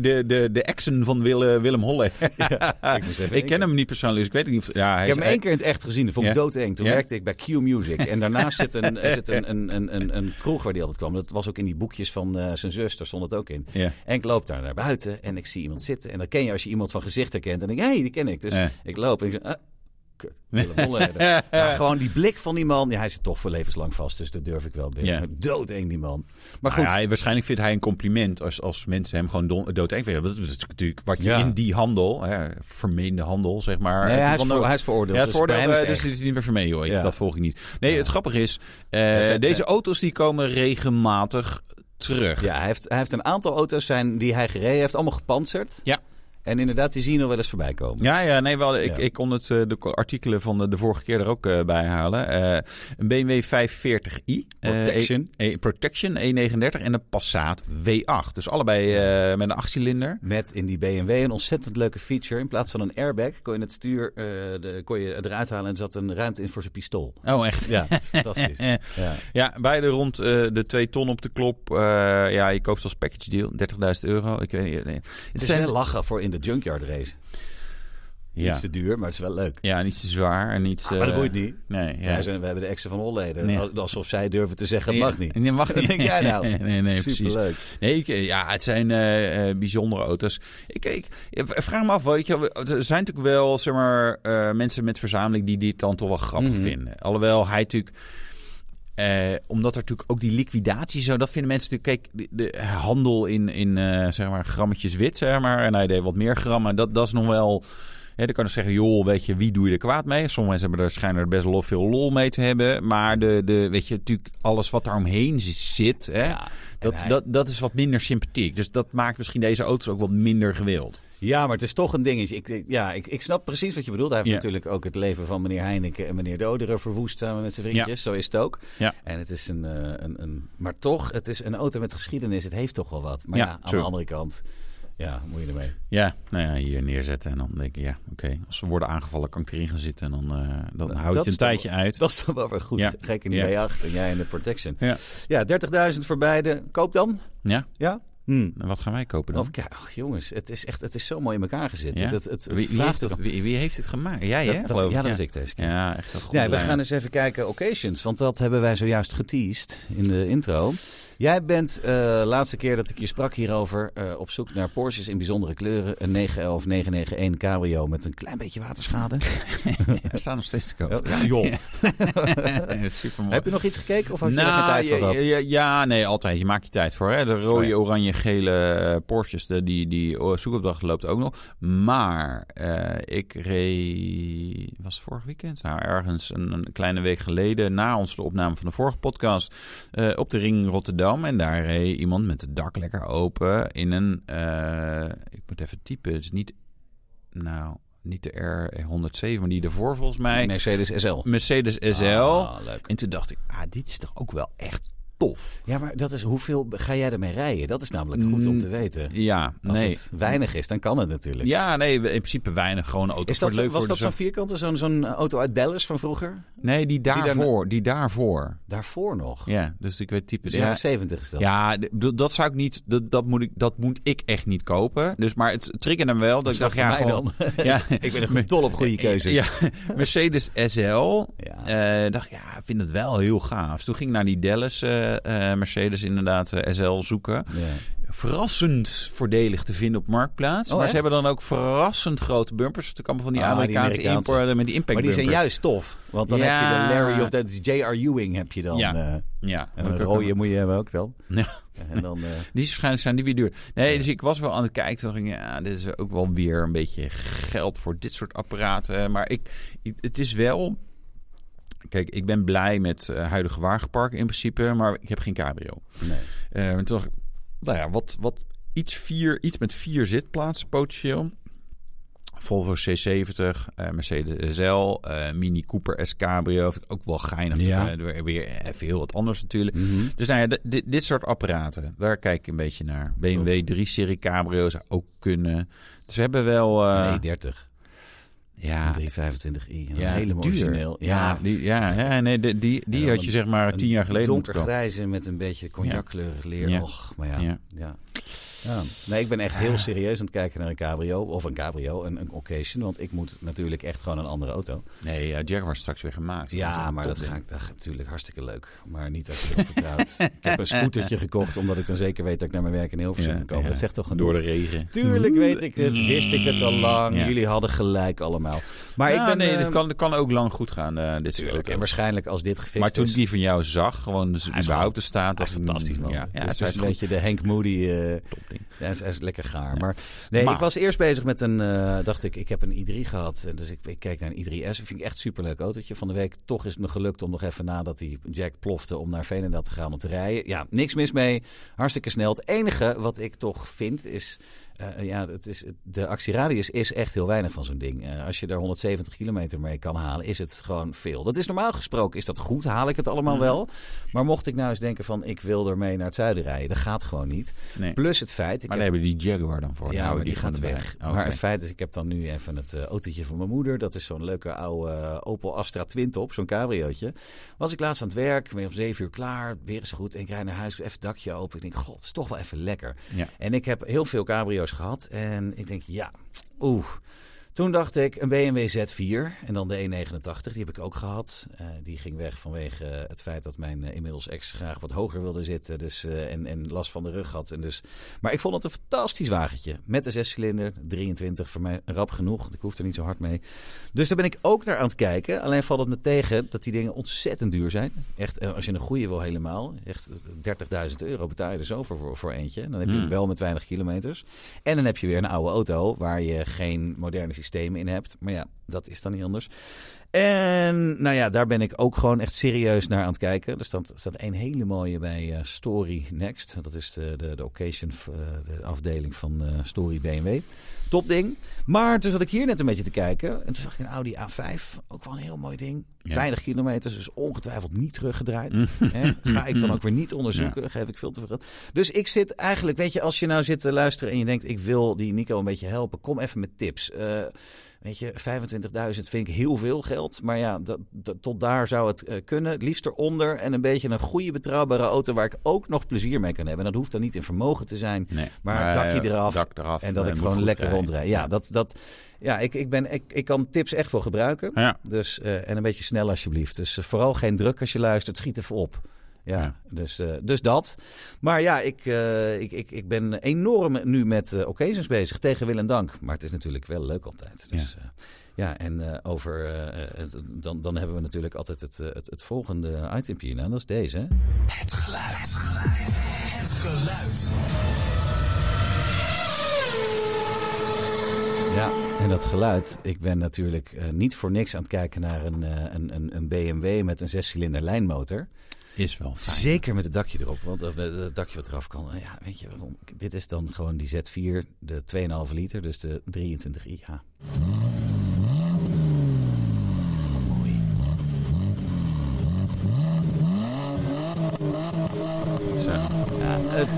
[SPEAKER 2] de, de, de exen van Willem, Willem Holle.
[SPEAKER 1] ik moest even
[SPEAKER 2] ik ken
[SPEAKER 1] één
[SPEAKER 2] hem niet persoonlijk, dus ik weet niet of... Ja, hij
[SPEAKER 1] Ik
[SPEAKER 2] is-
[SPEAKER 1] heb hem één keer in het echt gezien. Dat vond ik
[SPEAKER 2] Ja.
[SPEAKER 1] doodeng. Toen
[SPEAKER 2] Ja.
[SPEAKER 1] werkte ik bij Q Music. En daarnaast zit een, eh, zit een, een, een, een, een kroeg waar die altijd kwam. Dat was ook in die boekjes van eh, zijn zus. Daar stond het ook in.
[SPEAKER 2] Ja.
[SPEAKER 1] En ik loop daar naar buiten en ik zie iemand zitten. En dan ken je als je iemand van gezicht herkent. En denk ik, hé, die ken ik. Dus
[SPEAKER 2] Ja.
[SPEAKER 1] ik loop en ik zeg, ah, kut, Willem Holleder. Maar Nou, gewoon die blik van die man. Ja, hij zit toch voor levenslang vast. Dus dat durf ik wel.
[SPEAKER 2] Ja.
[SPEAKER 1] Ja. Doodeng die man. Maar
[SPEAKER 2] Nou
[SPEAKER 1] goed.
[SPEAKER 2] ja, waarschijnlijk vindt hij een compliment als, als mensen hem gewoon don- doodeng vinden. Dat is natuurlijk wat je
[SPEAKER 1] Ja.
[SPEAKER 2] in die handel, hè, vermeende handel, zeg maar...
[SPEAKER 1] Nee,
[SPEAKER 2] Het
[SPEAKER 1] hij, is
[SPEAKER 2] kan
[SPEAKER 1] voor-
[SPEAKER 2] ook-
[SPEAKER 1] hij is veroordeeld.
[SPEAKER 2] Ja, het
[SPEAKER 1] dus bij
[SPEAKER 2] voordeel,
[SPEAKER 1] hem is het
[SPEAKER 2] eh, dus
[SPEAKER 1] echt.
[SPEAKER 2] het is niet meer voor mij, joh. Ik-
[SPEAKER 1] Ja.
[SPEAKER 2] Dat volg ik niet. Nee, het grappige is, eh,
[SPEAKER 1] zijn-
[SPEAKER 2] deze
[SPEAKER 1] zijn-
[SPEAKER 2] auto's die komen regelmatig terug.
[SPEAKER 1] Ja, hij heeft, hij heeft een aantal auto's zijn die hij gereden heeft. Allemaal gepantserd.
[SPEAKER 2] Ja.
[SPEAKER 1] En inderdaad, die zien er wel eens voorbij komen.
[SPEAKER 2] Ja, ja, nee, wel, ik,
[SPEAKER 1] Ja.
[SPEAKER 2] ik kon het, eh, de ko- artikelen van de, de vorige keer er ook eh, bij halen. Eh, een BMW 540i. eh,
[SPEAKER 1] Protection.
[SPEAKER 2] E, e- Protection, E39 en een Passat W8. Dus allebei eh, met een achtcilinder.
[SPEAKER 1] Met in die BMW een ontzettend leuke feature. In plaats van een airbag kon je het stuur eh, de, kon je eruit halen en er zat een ruimte in voor zijn pistool.
[SPEAKER 2] Oh, echt?
[SPEAKER 1] Ja, dat is fantastisch.
[SPEAKER 2] Eh,
[SPEAKER 1] Ja.
[SPEAKER 2] ja, beide rond eh, de 2 ton op de klop. Eh, ja, je koopt ze als package deal. 30.000 euro. Ik weet niet. nee.
[SPEAKER 1] Het is wel lachen voor in de junkyard race. Ja.
[SPEAKER 2] ja.
[SPEAKER 1] Iets te duur, maar het is wel leuk.
[SPEAKER 2] ja, niet te zwaar en niet...
[SPEAKER 1] maar dat
[SPEAKER 2] eh,
[SPEAKER 1] boeit niet.
[SPEAKER 2] Nee, ja.
[SPEAKER 1] Wij zijn- we hebben de exen van Holleden.
[SPEAKER 2] Nee.
[SPEAKER 1] Alsof zij durven te zeggen, het mag niet.
[SPEAKER 2] Nee, mag
[SPEAKER 1] Wat
[SPEAKER 2] niet.
[SPEAKER 1] denk jij nou?
[SPEAKER 2] Nee, nee, precies.
[SPEAKER 1] Superleuk.
[SPEAKER 2] Nee, ik- ja, het zijn eh, eh, bijzondere auto's. Ik, ik, ik vraag me af, weet je, wel, er zijn natuurlijk wel zeg maar, eh, mensen met verzameling die dit dan toch wel grappig
[SPEAKER 1] Mhm.
[SPEAKER 2] vinden. Alhoewel hij natuurlijk. eh, omdat er natuurlijk ook die liquidatie zo, dat vinden mensen natuurlijk. Kijk, de, de handel in, in eh, zeg maar grammetjes wit, zeg maar. En hij deed wat meer grammen. Dat, dat is nog wel Hè, dan kan je zeggen, joh, weet je, wie doe je er kwaad mee? Sommige mensen hebben er schijnen er best wel veel lol mee te hebben. Maar de, de, weet je, natuurlijk alles wat daar omheen zi- zit, hè,
[SPEAKER 1] Ja, en
[SPEAKER 2] dat,
[SPEAKER 1] hij-
[SPEAKER 2] dat, dat is wat minder sympathiek. Dus dat maakt misschien deze auto's ook wat minder gewild.
[SPEAKER 1] Ja, maar het is toch een dingetje. Ik, ik- ja, ik, ik snap precies wat je bedoelt. Hij heeft
[SPEAKER 2] Ja.
[SPEAKER 1] natuurlijk ook het leven van meneer Heineken en meneer Doderen verwoest samen met zijn vriendjes. Zo is het ook.
[SPEAKER 2] Ja.
[SPEAKER 1] En het is een, eh, een, een... Maar toch, het is een auto met geschiedenis. Het heeft toch wel wat. Maar ja,
[SPEAKER 2] Ja,
[SPEAKER 1] aan de
[SPEAKER 2] true.
[SPEAKER 1] andere kant, ja, moet je ermee.
[SPEAKER 2] Ja, nou ja, hier neerzetten en dan denk ik, ja, oké. Als ze worden aangevallen, kan ik erin gaan zitten en dan, eh, dan
[SPEAKER 1] Dat
[SPEAKER 2] houd je
[SPEAKER 1] is
[SPEAKER 2] het een
[SPEAKER 1] toch-
[SPEAKER 2] tijdje uit.
[SPEAKER 1] Dat is dan wel weer goed.
[SPEAKER 2] Ja.
[SPEAKER 1] Gek in die
[SPEAKER 2] Ja.
[SPEAKER 1] B8 en jij in de Protection.
[SPEAKER 2] Ja.
[SPEAKER 1] Ja, 30.000 voor beide. Koop dan.
[SPEAKER 2] Ja,
[SPEAKER 1] Ja? Hm.
[SPEAKER 2] en wat gaan wij kopen dan?
[SPEAKER 1] Oh, ja, ach, jongens, het is echt het is zo mooi in elkaar gezet.
[SPEAKER 2] Ja?
[SPEAKER 1] Het, het, het, het
[SPEAKER 2] wie, wie
[SPEAKER 1] vraagt
[SPEAKER 2] heeft het,
[SPEAKER 1] het
[SPEAKER 2] wie, wie heeft het gemaakt? Jij,
[SPEAKER 1] Dat-
[SPEAKER 2] hè,
[SPEAKER 1] dat-
[SPEAKER 2] geloof
[SPEAKER 1] ja,
[SPEAKER 2] ik.
[SPEAKER 1] dat was ik deze keer.
[SPEAKER 2] Ja, echt een goede
[SPEAKER 1] Ja, we
[SPEAKER 2] lijn.
[SPEAKER 1] gaan eens even kijken occasions, want dat hebben wij zojuist geteased in de intro. Jij bent eh, laatste keer dat ik je sprak hierover eh, op zoek naar Porsches in bijzondere kleuren. Een 911 991 cabrio met een klein beetje waterschade.
[SPEAKER 2] We staan nog steeds te koop.
[SPEAKER 1] Oh, ja, joh.
[SPEAKER 2] Super
[SPEAKER 1] Heb je nog iets gekeken of had Nou, je
[SPEAKER 2] Nou,
[SPEAKER 1] er geen tijd voor gehad?
[SPEAKER 2] ja, ja, ja, nee, altijd. Je maakt je tijd voor. Hè? De rode,
[SPEAKER 1] Oh, ja.
[SPEAKER 2] oranje, gele eh, Porsches, de, die, die oh, zoekopdracht loopt ook nog. Maar eh, ik reed, was het vorig weekend? Nou, ergens een, een kleine week geleden, na onze opname van de vorige podcast, eh, op de ring Rotterdam. En daar reed iemand met het dak lekker open in een, eh, ik moet even typen, het is niet, nou, niet de R107, maar die ervoor volgens mij.
[SPEAKER 1] Mercedes SL.
[SPEAKER 2] Mercedes SL.
[SPEAKER 1] Ah, leuk.
[SPEAKER 2] En toen dacht ik, ah, dit is toch ook wel echt tof.
[SPEAKER 1] Ja, maar dat is hoeveel ga jij ermee rijden? Dat is namelijk goed om te weten.
[SPEAKER 2] Ja,
[SPEAKER 1] Als
[SPEAKER 2] nee.
[SPEAKER 1] het weinig is, dan kan het natuurlijk.
[SPEAKER 2] Ja, nee, in principe weinig. Gewoon auto's
[SPEAKER 1] Is dat,
[SPEAKER 2] voor leuk
[SPEAKER 1] was
[SPEAKER 2] voor
[SPEAKER 1] dat
[SPEAKER 2] de
[SPEAKER 1] zo'n
[SPEAKER 2] zo-
[SPEAKER 1] vierkante, zo'n zo'n auto uit Dallas van vroeger?
[SPEAKER 2] Nee, die
[SPEAKER 1] daarna-
[SPEAKER 2] daarvoor. Die daarvoor.
[SPEAKER 1] Daarvoor nog.
[SPEAKER 2] Ja, dus ik weet type...
[SPEAKER 1] Dus jaren
[SPEAKER 2] Ja,
[SPEAKER 1] 70 is dat.
[SPEAKER 2] ja, d- bedoel, dat zou ik niet... Dat, dat, moet ik, dat moet ik echt niet kopen. Dus, maar het triggerde hem wel. Dat ik
[SPEAKER 1] Dus wat
[SPEAKER 2] dacht, ja,
[SPEAKER 1] voor mij
[SPEAKER 2] gewoon...
[SPEAKER 1] dan?
[SPEAKER 2] Ja,
[SPEAKER 1] Ik ben echt dol op goede keuzes.
[SPEAKER 2] Ja, Mercedes SL.
[SPEAKER 1] Ja.
[SPEAKER 2] Eh, dacht, ja, ik vind het wel heel gaaf. Dus toen ging ik naar die Dallas eh, eh, Mercedes inderdaad eh, SL zoeken.
[SPEAKER 1] Ja.
[SPEAKER 2] verrassend voordelig te vinden op Marktplaats.
[SPEAKER 1] Oh,
[SPEAKER 2] maar ze
[SPEAKER 1] echt?
[SPEAKER 2] hebben dan ook verrassend grote bumpers. Er komen van die
[SPEAKER 1] Ah, die
[SPEAKER 2] Amerikaanse
[SPEAKER 1] Amerikaanse.
[SPEAKER 2] importen met die impact
[SPEAKER 1] Maar die zijn
[SPEAKER 2] bumpers.
[SPEAKER 1] juist tof. Want dan
[SPEAKER 2] Ja.
[SPEAKER 1] heb je de Larry of dat J.R. Ewing heb je dan.
[SPEAKER 2] Ja.
[SPEAKER 1] eh.
[SPEAKER 2] Ja,
[SPEAKER 1] en een rode moet je hebben ook dan.
[SPEAKER 2] Ja.
[SPEAKER 1] En dan eh,
[SPEAKER 2] Die is waarschijnlijk zijn die weer duur. Nee, dus ik was wel aan het kijken. Toen dacht ik, ja, dit is ook wel weer een beetje geld voor dit soort apparaten. Maar ik, ik- het is wel... Kijk, ik ben blij met eh, huidige wagenpark in principe. Maar ik heb geen cabrio.
[SPEAKER 1] nee.
[SPEAKER 2] Eh, en toen dacht ik, nou ja, wat, wat iets, vier, iets met vier zitplaatsen potentieel. Volvo C70, eh, Mercedes SL, eh, Mini Cooper S-Cabrio. Vind ik ook wel geinig.
[SPEAKER 1] Ja.
[SPEAKER 2] Eh, weer, weer even heel wat anders natuurlijk.
[SPEAKER 1] Mhm.
[SPEAKER 2] Dus nou ja, d- dit- dit soort apparaten, daar kijk ik een beetje naar. BMW 3-serie Cabrio zou ook kunnen. Dus we hebben wel... eh,
[SPEAKER 1] Nee, 30.
[SPEAKER 2] ja,
[SPEAKER 1] 325i. Een
[SPEAKER 2] ja,
[SPEAKER 1] hele
[SPEAKER 2] duur.
[SPEAKER 1] origineel.
[SPEAKER 2] Ja, die, ja, ja, nee, die, die, die
[SPEAKER 1] Ja,
[SPEAKER 2] had je zeg maar
[SPEAKER 1] een
[SPEAKER 2] tien jaar geleden moeten kopen.
[SPEAKER 1] Donkergrijze met een beetje cognackleurig leer.
[SPEAKER 2] Ja.
[SPEAKER 1] Och, maar ja. Ja. Ah.
[SPEAKER 2] Ja.
[SPEAKER 1] Ja. Nee, ik ben echt heel serieus aan het kijken naar een cabrio. Of een cabrio, een, een occasion. Want ik moet natuurlijk echt gewoon een andere auto.
[SPEAKER 2] Nee, ja, Jaguar is straks weer gemaakt.
[SPEAKER 1] Ja, maar dat
[SPEAKER 2] gaat.
[SPEAKER 1] ga ik dat, natuurlijk hartstikke leuk. Maar niet als je erop vertrouwt. ik heb een scootertje gekocht, omdat ik dan zeker weet dat ik naar mijn werk in Hilversum
[SPEAKER 2] Ja,
[SPEAKER 1] kan komen.
[SPEAKER 2] ja.
[SPEAKER 1] Dat zegt toch genoeg.
[SPEAKER 2] Door de regen.
[SPEAKER 1] Tuurlijk weet ik dit, wist ik het al lang.
[SPEAKER 2] Mm, Ja.
[SPEAKER 1] Jullie hadden gelijk allemaal. Maar
[SPEAKER 2] Maar
[SPEAKER 1] ik ben...
[SPEAKER 2] nee,
[SPEAKER 1] eh,
[SPEAKER 2] dit kan, dit kan ook lang goed gaan, eh, dit soort
[SPEAKER 1] Tuurlijk,
[SPEAKER 2] auto's.
[SPEAKER 1] en waarschijnlijk als dit gefixt
[SPEAKER 2] Maar toen
[SPEAKER 1] is...
[SPEAKER 2] ik die van jou zag, gewoon dus
[SPEAKER 1] is
[SPEAKER 2] überhaupt te staan.
[SPEAKER 1] Dat is fantastisch, man.
[SPEAKER 2] Ja,
[SPEAKER 1] Ja,
[SPEAKER 2] ja
[SPEAKER 1] dat
[SPEAKER 2] het
[SPEAKER 1] is dus
[SPEAKER 2] is
[SPEAKER 1] een
[SPEAKER 2] goed.
[SPEAKER 1] beetje de Henk Moody. eh,
[SPEAKER 2] Topding.
[SPEAKER 1] ja, is, is lekker gaar. Maar, nee,
[SPEAKER 2] Maar-
[SPEAKER 1] ik was eerst bezig met een... eh, dacht ik, ik heb een i3 gehad. En dus ik, ik keek naar een i3S. Dat vind ik echt superleuk autootje. Van de week toch is het me gelukt om nog even nadat die jack plofte... om naar Veenendaal te gaan om te rijden. Ja, niks mis mee. Hartstikke snel. Het enige wat ik toch vind is... eh, ja, het is, het- de actieradius is echt heel weinig van zo'n ding. Eh, als je daar 170 kilometer mee kan halen, is het gewoon veel. Dat is normaal gesproken, is dat goed? Haal ik het allemaal
[SPEAKER 2] Mhm.
[SPEAKER 1] wel? Maar mocht ik nou eens denken van, ik wil ermee naar het zuiden rijden. Dat gaat gewoon niet.
[SPEAKER 2] Nee.
[SPEAKER 1] Plus het feit... Ik
[SPEAKER 2] Maar
[SPEAKER 1] heb-
[SPEAKER 2] daar hebben die Jaguar dan voor.
[SPEAKER 1] ja,
[SPEAKER 2] Nou,
[SPEAKER 1] maar die gaat
[SPEAKER 2] gewoon
[SPEAKER 1] weg.
[SPEAKER 2] erbij. Oh,
[SPEAKER 1] Maar
[SPEAKER 2] oké.
[SPEAKER 1] het feit is, ik heb dan nu even het eh, autootje van mijn moeder. Dat is zo'n leuke oude eh, Opel Astra Twintop, zo'n cabriootje. Was ik laatst aan het werk, ben om zeven uur klaar, weer is goed. En ik rijd naar huis, even het dakje open. Ik denk, god, het is toch wel even lekker.
[SPEAKER 2] Ja.
[SPEAKER 1] En ik heb heel veel cabrio's gehad. En ik denk, ja, oeh. Toen dacht ik, een BMW Z4 en dan de E89, die heb ik ook gehad. Eh, die ging weg vanwege eh, het feit dat mijn eh, inmiddels ex graag wat hoger wilde zitten dus, eh, en, en last van de rug had. En dus, maar ik vond het een fantastisch wagentje. Met een zescilinder, 23, voor mij rap genoeg, want ik hoef er niet zo hard mee. Dus daar ben ik ook naar aan het kijken. Alleen valt het me tegen dat die dingen ontzettend duur zijn. Echt, eh, als je een goede wil helemaal, echt eh, 30.000 euro betaal je er zo voor, voor, voor eentje. Dan heb je hem
[SPEAKER 2] Hmm.
[SPEAKER 1] wel met weinig kilometers. En dan heb je weer een oude auto waar je geen moderne systemen systemen in hebt. Maar ja, dat is dan niet anders. En nou ja, daar ben ik ook gewoon echt serieus naar aan het kijken. Er staat, staat een hele mooie bij eh, Story Next. Dat is de, de, de occasion, eh, de afdeling van eh, Story BMW. Topding. Maar toen zat ik hier net een beetje te kijken. En toen zag ik een Audi A5. Ook wel een heel mooi ding.
[SPEAKER 2] Ja.
[SPEAKER 1] Weinig kilometers, dus ongetwijfeld niet teruggedraaid.
[SPEAKER 2] Mm.
[SPEAKER 1] Hè? Ga ik dan ook weer niet onderzoeken. Geef ik veel te veel geld. Dus ik zit eigenlijk, weet je, als je nou zit te luisteren en je denkt... ik wil die Nico een beetje helpen, kom even met tips. Eh, weet je, 25.000 vind ik heel veel geld. Maar ja, dat, dat- tot daar zou het eh, kunnen. Het liefst eronder en een beetje een goede betrouwbare auto... waar ik ook nog plezier mee kan hebben. En dat hoeft dan niet in vermogen te zijn.
[SPEAKER 2] Nee,
[SPEAKER 1] Maar dakje
[SPEAKER 2] eh,
[SPEAKER 1] eraf
[SPEAKER 2] dak eraf
[SPEAKER 1] En dat
[SPEAKER 2] eh,
[SPEAKER 1] ik
[SPEAKER 2] moet
[SPEAKER 1] gewoon
[SPEAKER 2] goed
[SPEAKER 1] lekker
[SPEAKER 2] rijden.
[SPEAKER 1] rondrijd. Ja, dat, dat, ja ik, ik, ben, ik, ik kan tips echt wel gebruiken.
[SPEAKER 2] Ja.
[SPEAKER 1] Dus, eh, en een beetje snel alsjeblieft. Dus eh, vooral geen druk als je luistert. Schiet even op. Ja,
[SPEAKER 2] Ja.
[SPEAKER 1] Dus, eh, dus dat. Maar ja, ik, eh, ik, ik, ik ben enorm nu met eh, occasions bezig. Tegen wil en dank. Maar het is natuurlijk wel leuk altijd. Dus, ja. ja, en eh, over, eh, het- dan, dan hebben we natuurlijk altijd het, eh, het, het volgende itempje. Nou, dat is deze. hè?
[SPEAKER 4] Het geluid. Het geluid. Het geluid.
[SPEAKER 1] Ja, en dat geluid. Ik ben natuurlijk eh, niet voor niks aan het kijken naar een, eh, een, een, een BMW met een zescilinder lijnmotor.
[SPEAKER 2] Is wel fijn.
[SPEAKER 1] Zeker met het dakje erop, want of, eh, het dakje wat eraf kan. Eh, Ja, weet je waarom? Dit is dan gewoon die Z4, de 2,5 liter, dus de 23 IA. Dat is wel mooi.
[SPEAKER 2] Zo.
[SPEAKER 1] Ja, het,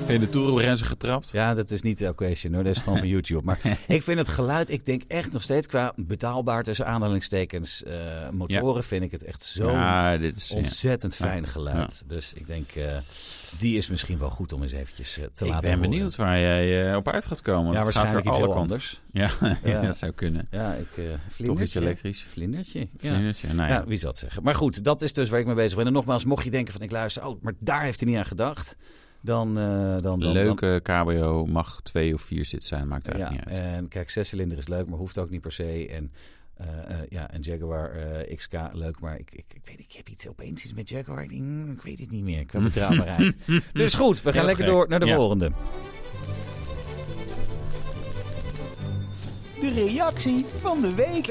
[SPEAKER 2] Even in de toerenbrenzen getrapt.
[SPEAKER 1] Ja, dat is niet de occasion hoor. Dat is gewoon van YouTube. Maar ik vind het geluid, ik denk echt nog steeds qua betaalbaar tussen aanhalingstekens eh, motoren, vind ik het echt zo
[SPEAKER 2] Ja, dit is... ja.
[SPEAKER 1] ontzettend fijn geluid. Dus ik denk, eh, die is misschien wel goed om eens eventjes eh, te
[SPEAKER 2] Ik
[SPEAKER 1] laten
[SPEAKER 2] ben
[SPEAKER 1] horen.
[SPEAKER 2] benieuwd waar jij eh, op uit gaat komen. want
[SPEAKER 1] Ja,
[SPEAKER 2] het gaat
[SPEAKER 1] waarschijnlijk
[SPEAKER 2] weer
[SPEAKER 1] iets
[SPEAKER 2] alle
[SPEAKER 1] heel
[SPEAKER 2] kanten.
[SPEAKER 1] anders.
[SPEAKER 2] Ja,
[SPEAKER 1] Ja.
[SPEAKER 2] dat zou kunnen.
[SPEAKER 1] Ja, ik, eh
[SPEAKER 2] Toch iets
[SPEAKER 1] vlindertje.
[SPEAKER 2] elektrisch.
[SPEAKER 1] Vlindertje, ja.
[SPEAKER 2] Ja. Ja, nou ja.
[SPEAKER 1] Ja, wie zal het zeggen. Maar goed, dat is dus waar ik mee bezig ben. En nogmaals, mocht je denken van ik luister, oh, maar daar heeft hij niet aan gedacht. Dan, eh, dan, dan, dan-
[SPEAKER 2] Leuke cabrio mag twee of vier zit zijn, maakt
[SPEAKER 1] Ja, eh,
[SPEAKER 2] eigenlijk niet uit.
[SPEAKER 1] en kijk, zescilinder is leuk, maar hoeft ook niet per se. En eh, eh, ja, en Jaguar eh, XK, leuk, maar ik, ik, ik weet ik heb iets opeens iets met Jaguar. Ik, denk, mm, ik weet het niet meer, qua betrouwbaarheid. dus goed, we gaan
[SPEAKER 2] Heel
[SPEAKER 1] lekker
[SPEAKER 2] gek.
[SPEAKER 1] door naar de
[SPEAKER 2] Ja.
[SPEAKER 1] volgende.
[SPEAKER 4] De reactie van de week.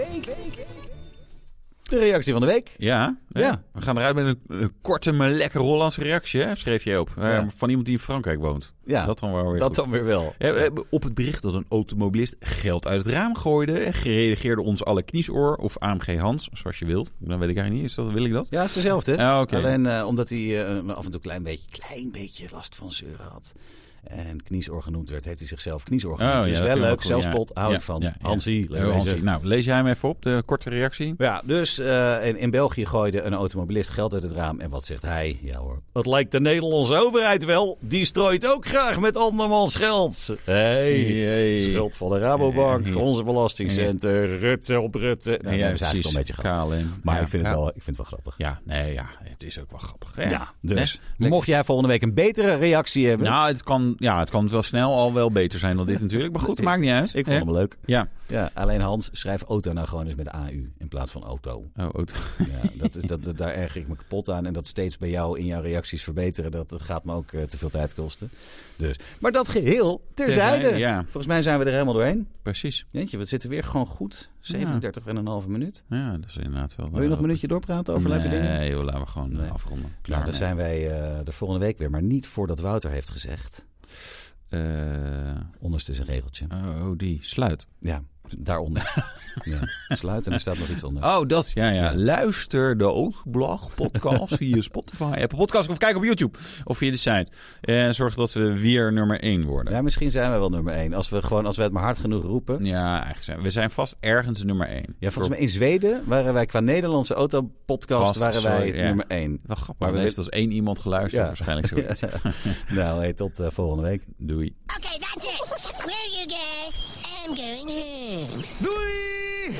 [SPEAKER 1] De reactie van de week.
[SPEAKER 2] Ja, hè?
[SPEAKER 1] Ja.
[SPEAKER 2] we gaan eruit met een, een korte maar lekker Hollandse reactie, hè? schreef je op. Eh,
[SPEAKER 1] Ja.
[SPEAKER 2] Van iemand die in Frankrijk woont.
[SPEAKER 1] Ja,
[SPEAKER 2] dat
[SPEAKER 1] dat,
[SPEAKER 2] dan wel weer goed.
[SPEAKER 1] dan weer wel.
[SPEAKER 2] Eh, we hebben Op het bericht dat een automobilist geld uit het raam gooide, eh, gereageerde ons alle kniesoor of AMG Hans, zoals je wilt. Dan weet ik eigenlijk niet, is dat, wil ik dat?
[SPEAKER 1] Ja, het is dezelfde.
[SPEAKER 2] Ah, oké.
[SPEAKER 1] Alleen eh, omdat hij eh, af en toe een klein beetje, klein beetje last van zeuren had. En kniesoor genoemd werd, heeft hij zichzelf kniesoor genoemd.
[SPEAKER 2] Oh, ja,
[SPEAKER 1] dus
[SPEAKER 2] dat
[SPEAKER 1] wel
[SPEAKER 2] vind ik
[SPEAKER 1] leuk,
[SPEAKER 2] ook goed,
[SPEAKER 1] zelfspot,
[SPEAKER 2] ja.
[SPEAKER 1] hou
[SPEAKER 2] Ja,
[SPEAKER 1] ik van.
[SPEAKER 2] ja, ja.
[SPEAKER 1] Hansie, leuk
[SPEAKER 2] Eh, Hansie.
[SPEAKER 1] bezig.
[SPEAKER 2] Nou, lees jij hem even op, de korte reactie.
[SPEAKER 1] Ja, dus eh, in, in België gooide een automobilist geld uit het raam. En wat zegt hij? Ja hoor. Het lijkt de Nederlandse overheid wel. Die strooit ook graag met andermans geld. Hé,
[SPEAKER 2] Jee.
[SPEAKER 1] schuld van de Rabobank,
[SPEAKER 2] Ja.
[SPEAKER 1] onze belastingcenter, Rutte op Rutte. Nou,
[SPEAKER 2] Ja,
[SPEAKER 1] dat hebben ze eigenlijk al een beetje gehad.
[SPEAKER 2] KLM.
[SPEAKER 1] Maar
[SPEAKER 2] Ja.
[SPEAKER 1] ik, vind het
[SPEAKER 2] Ja.
[SPEAKER 1] wel, ik vind het wel grappig.
[SPEAKER 2] Ja, nee, ja, het is ook wel grappig. hè?
[SPEAKER 1] Ja, dus
[SPEAKER 2] Hè? Lekker.
[SPEAKER 1] mocht jij volgende week een betere reactie hebben...
[SPEAKER 2] Nou, het kan, ja, het kan wel snel al wel beter zijn dan dit natuurlijk. Maar goed,
[SPEAKER 1] Ik-
[SPEAKER 2] maakt niet uit.
[SPEAKER 1] ik
[SPEAKER 2] hè?
[SPEAKER 1] vond hem leuk.
[SPEAKER 2] Ja.
[SPEAKER 1] Ja, alleen Hans, schrijf auto nou gewoon eens met AU in plaats van auto.
[SPEAKER 2] Oh, auto.
[SPEAKER 1] Ja, dat is, dat, dat- daar erg ik me kapot aan. En dat steeds bij jou in jouw reacties verbeteren, dat, dat gaat me ook eh, te veel tijd kosten. Dus. Maar dat geheel terzijde.
[SPEAKER 2] Terzijde, ja.
[SPEAKER 1] Volgens mij zijn we er helemaal doorheen.
[SPEAKER 2] Precies.
[SPEAKER 1] Jeetje, we zitten weer gewoon goed. 37 en een halve minuut.
[SPEAKER 2] Ja, dat is inderdaad wel... eh,
[SPEAKER 1] Wil je nog een minuutje doorpraten over leuke
[SPEAKER 2] nee,
[SPEAKER 1] dingen?
[SPEAKER 2] joh, laten we gewoon eh,
[SPEAKER 1] Nee.
[SPEAKER 2] afronden. Klaar
[SPEAKER 1] Nou, dan
[SPEAKER 2] mee.
[SPEAKER 1] zijn wij eh de volgende week weer. Maar niet voordat Wouter heeft gezegd.
[SPEAKER 2] Eh,
[SPEAKER 1] Onderste is een regeltje.
[SPEAKER 2] oh, oh, die. Sluit.
[SPEAKER 1] Ja, daaronder. ja. Sluit en er staat nog iets onder.
[SPEAKER 2] Oh, dat. Ja, ja. Luister de Oogblog podcast via Spotify, Apple Podcast of kijk op YouTube of via de site. En zorg dat we weer nummer 1 worden. Ja,
[SPEAKER 1] Ja, misschien zijn wij wel nummer 1. Als we, gewoon, als we het maar hard genoeg roepen.
[SPEAKER 2] eigenlijk zijn we zijn vast ergens nummer 1.
[SPEAKER 1] Ja, volgens mij in Zweden waren wij qua Nederlandse autopodcast
[SPEAKER 2] Past,
[SPEAKER 1] waren wij
[SPEAKER 2] sorry, ja.
[SPEAKER 1] nummer 1.
[SPEAKER 2] Wel grappig.
[SPEAKER 1] Maar
[SPEAKER 2] Maar
[SPEAKER 1] we
[SPEAKER 2] we heeft als één iemand geluisterd
[SPEAKER 1] Ja.
[SPEAKER 2] waarschijnlijk zoiets.
[SPEAKER 1] nou, hey, tot eh, volgende week.
[SPEAKER 2] Doei.
[SPEAKER 5] Okay, that's it. Where are you guys? I'm going home.
[SPEAKER 4] Doei!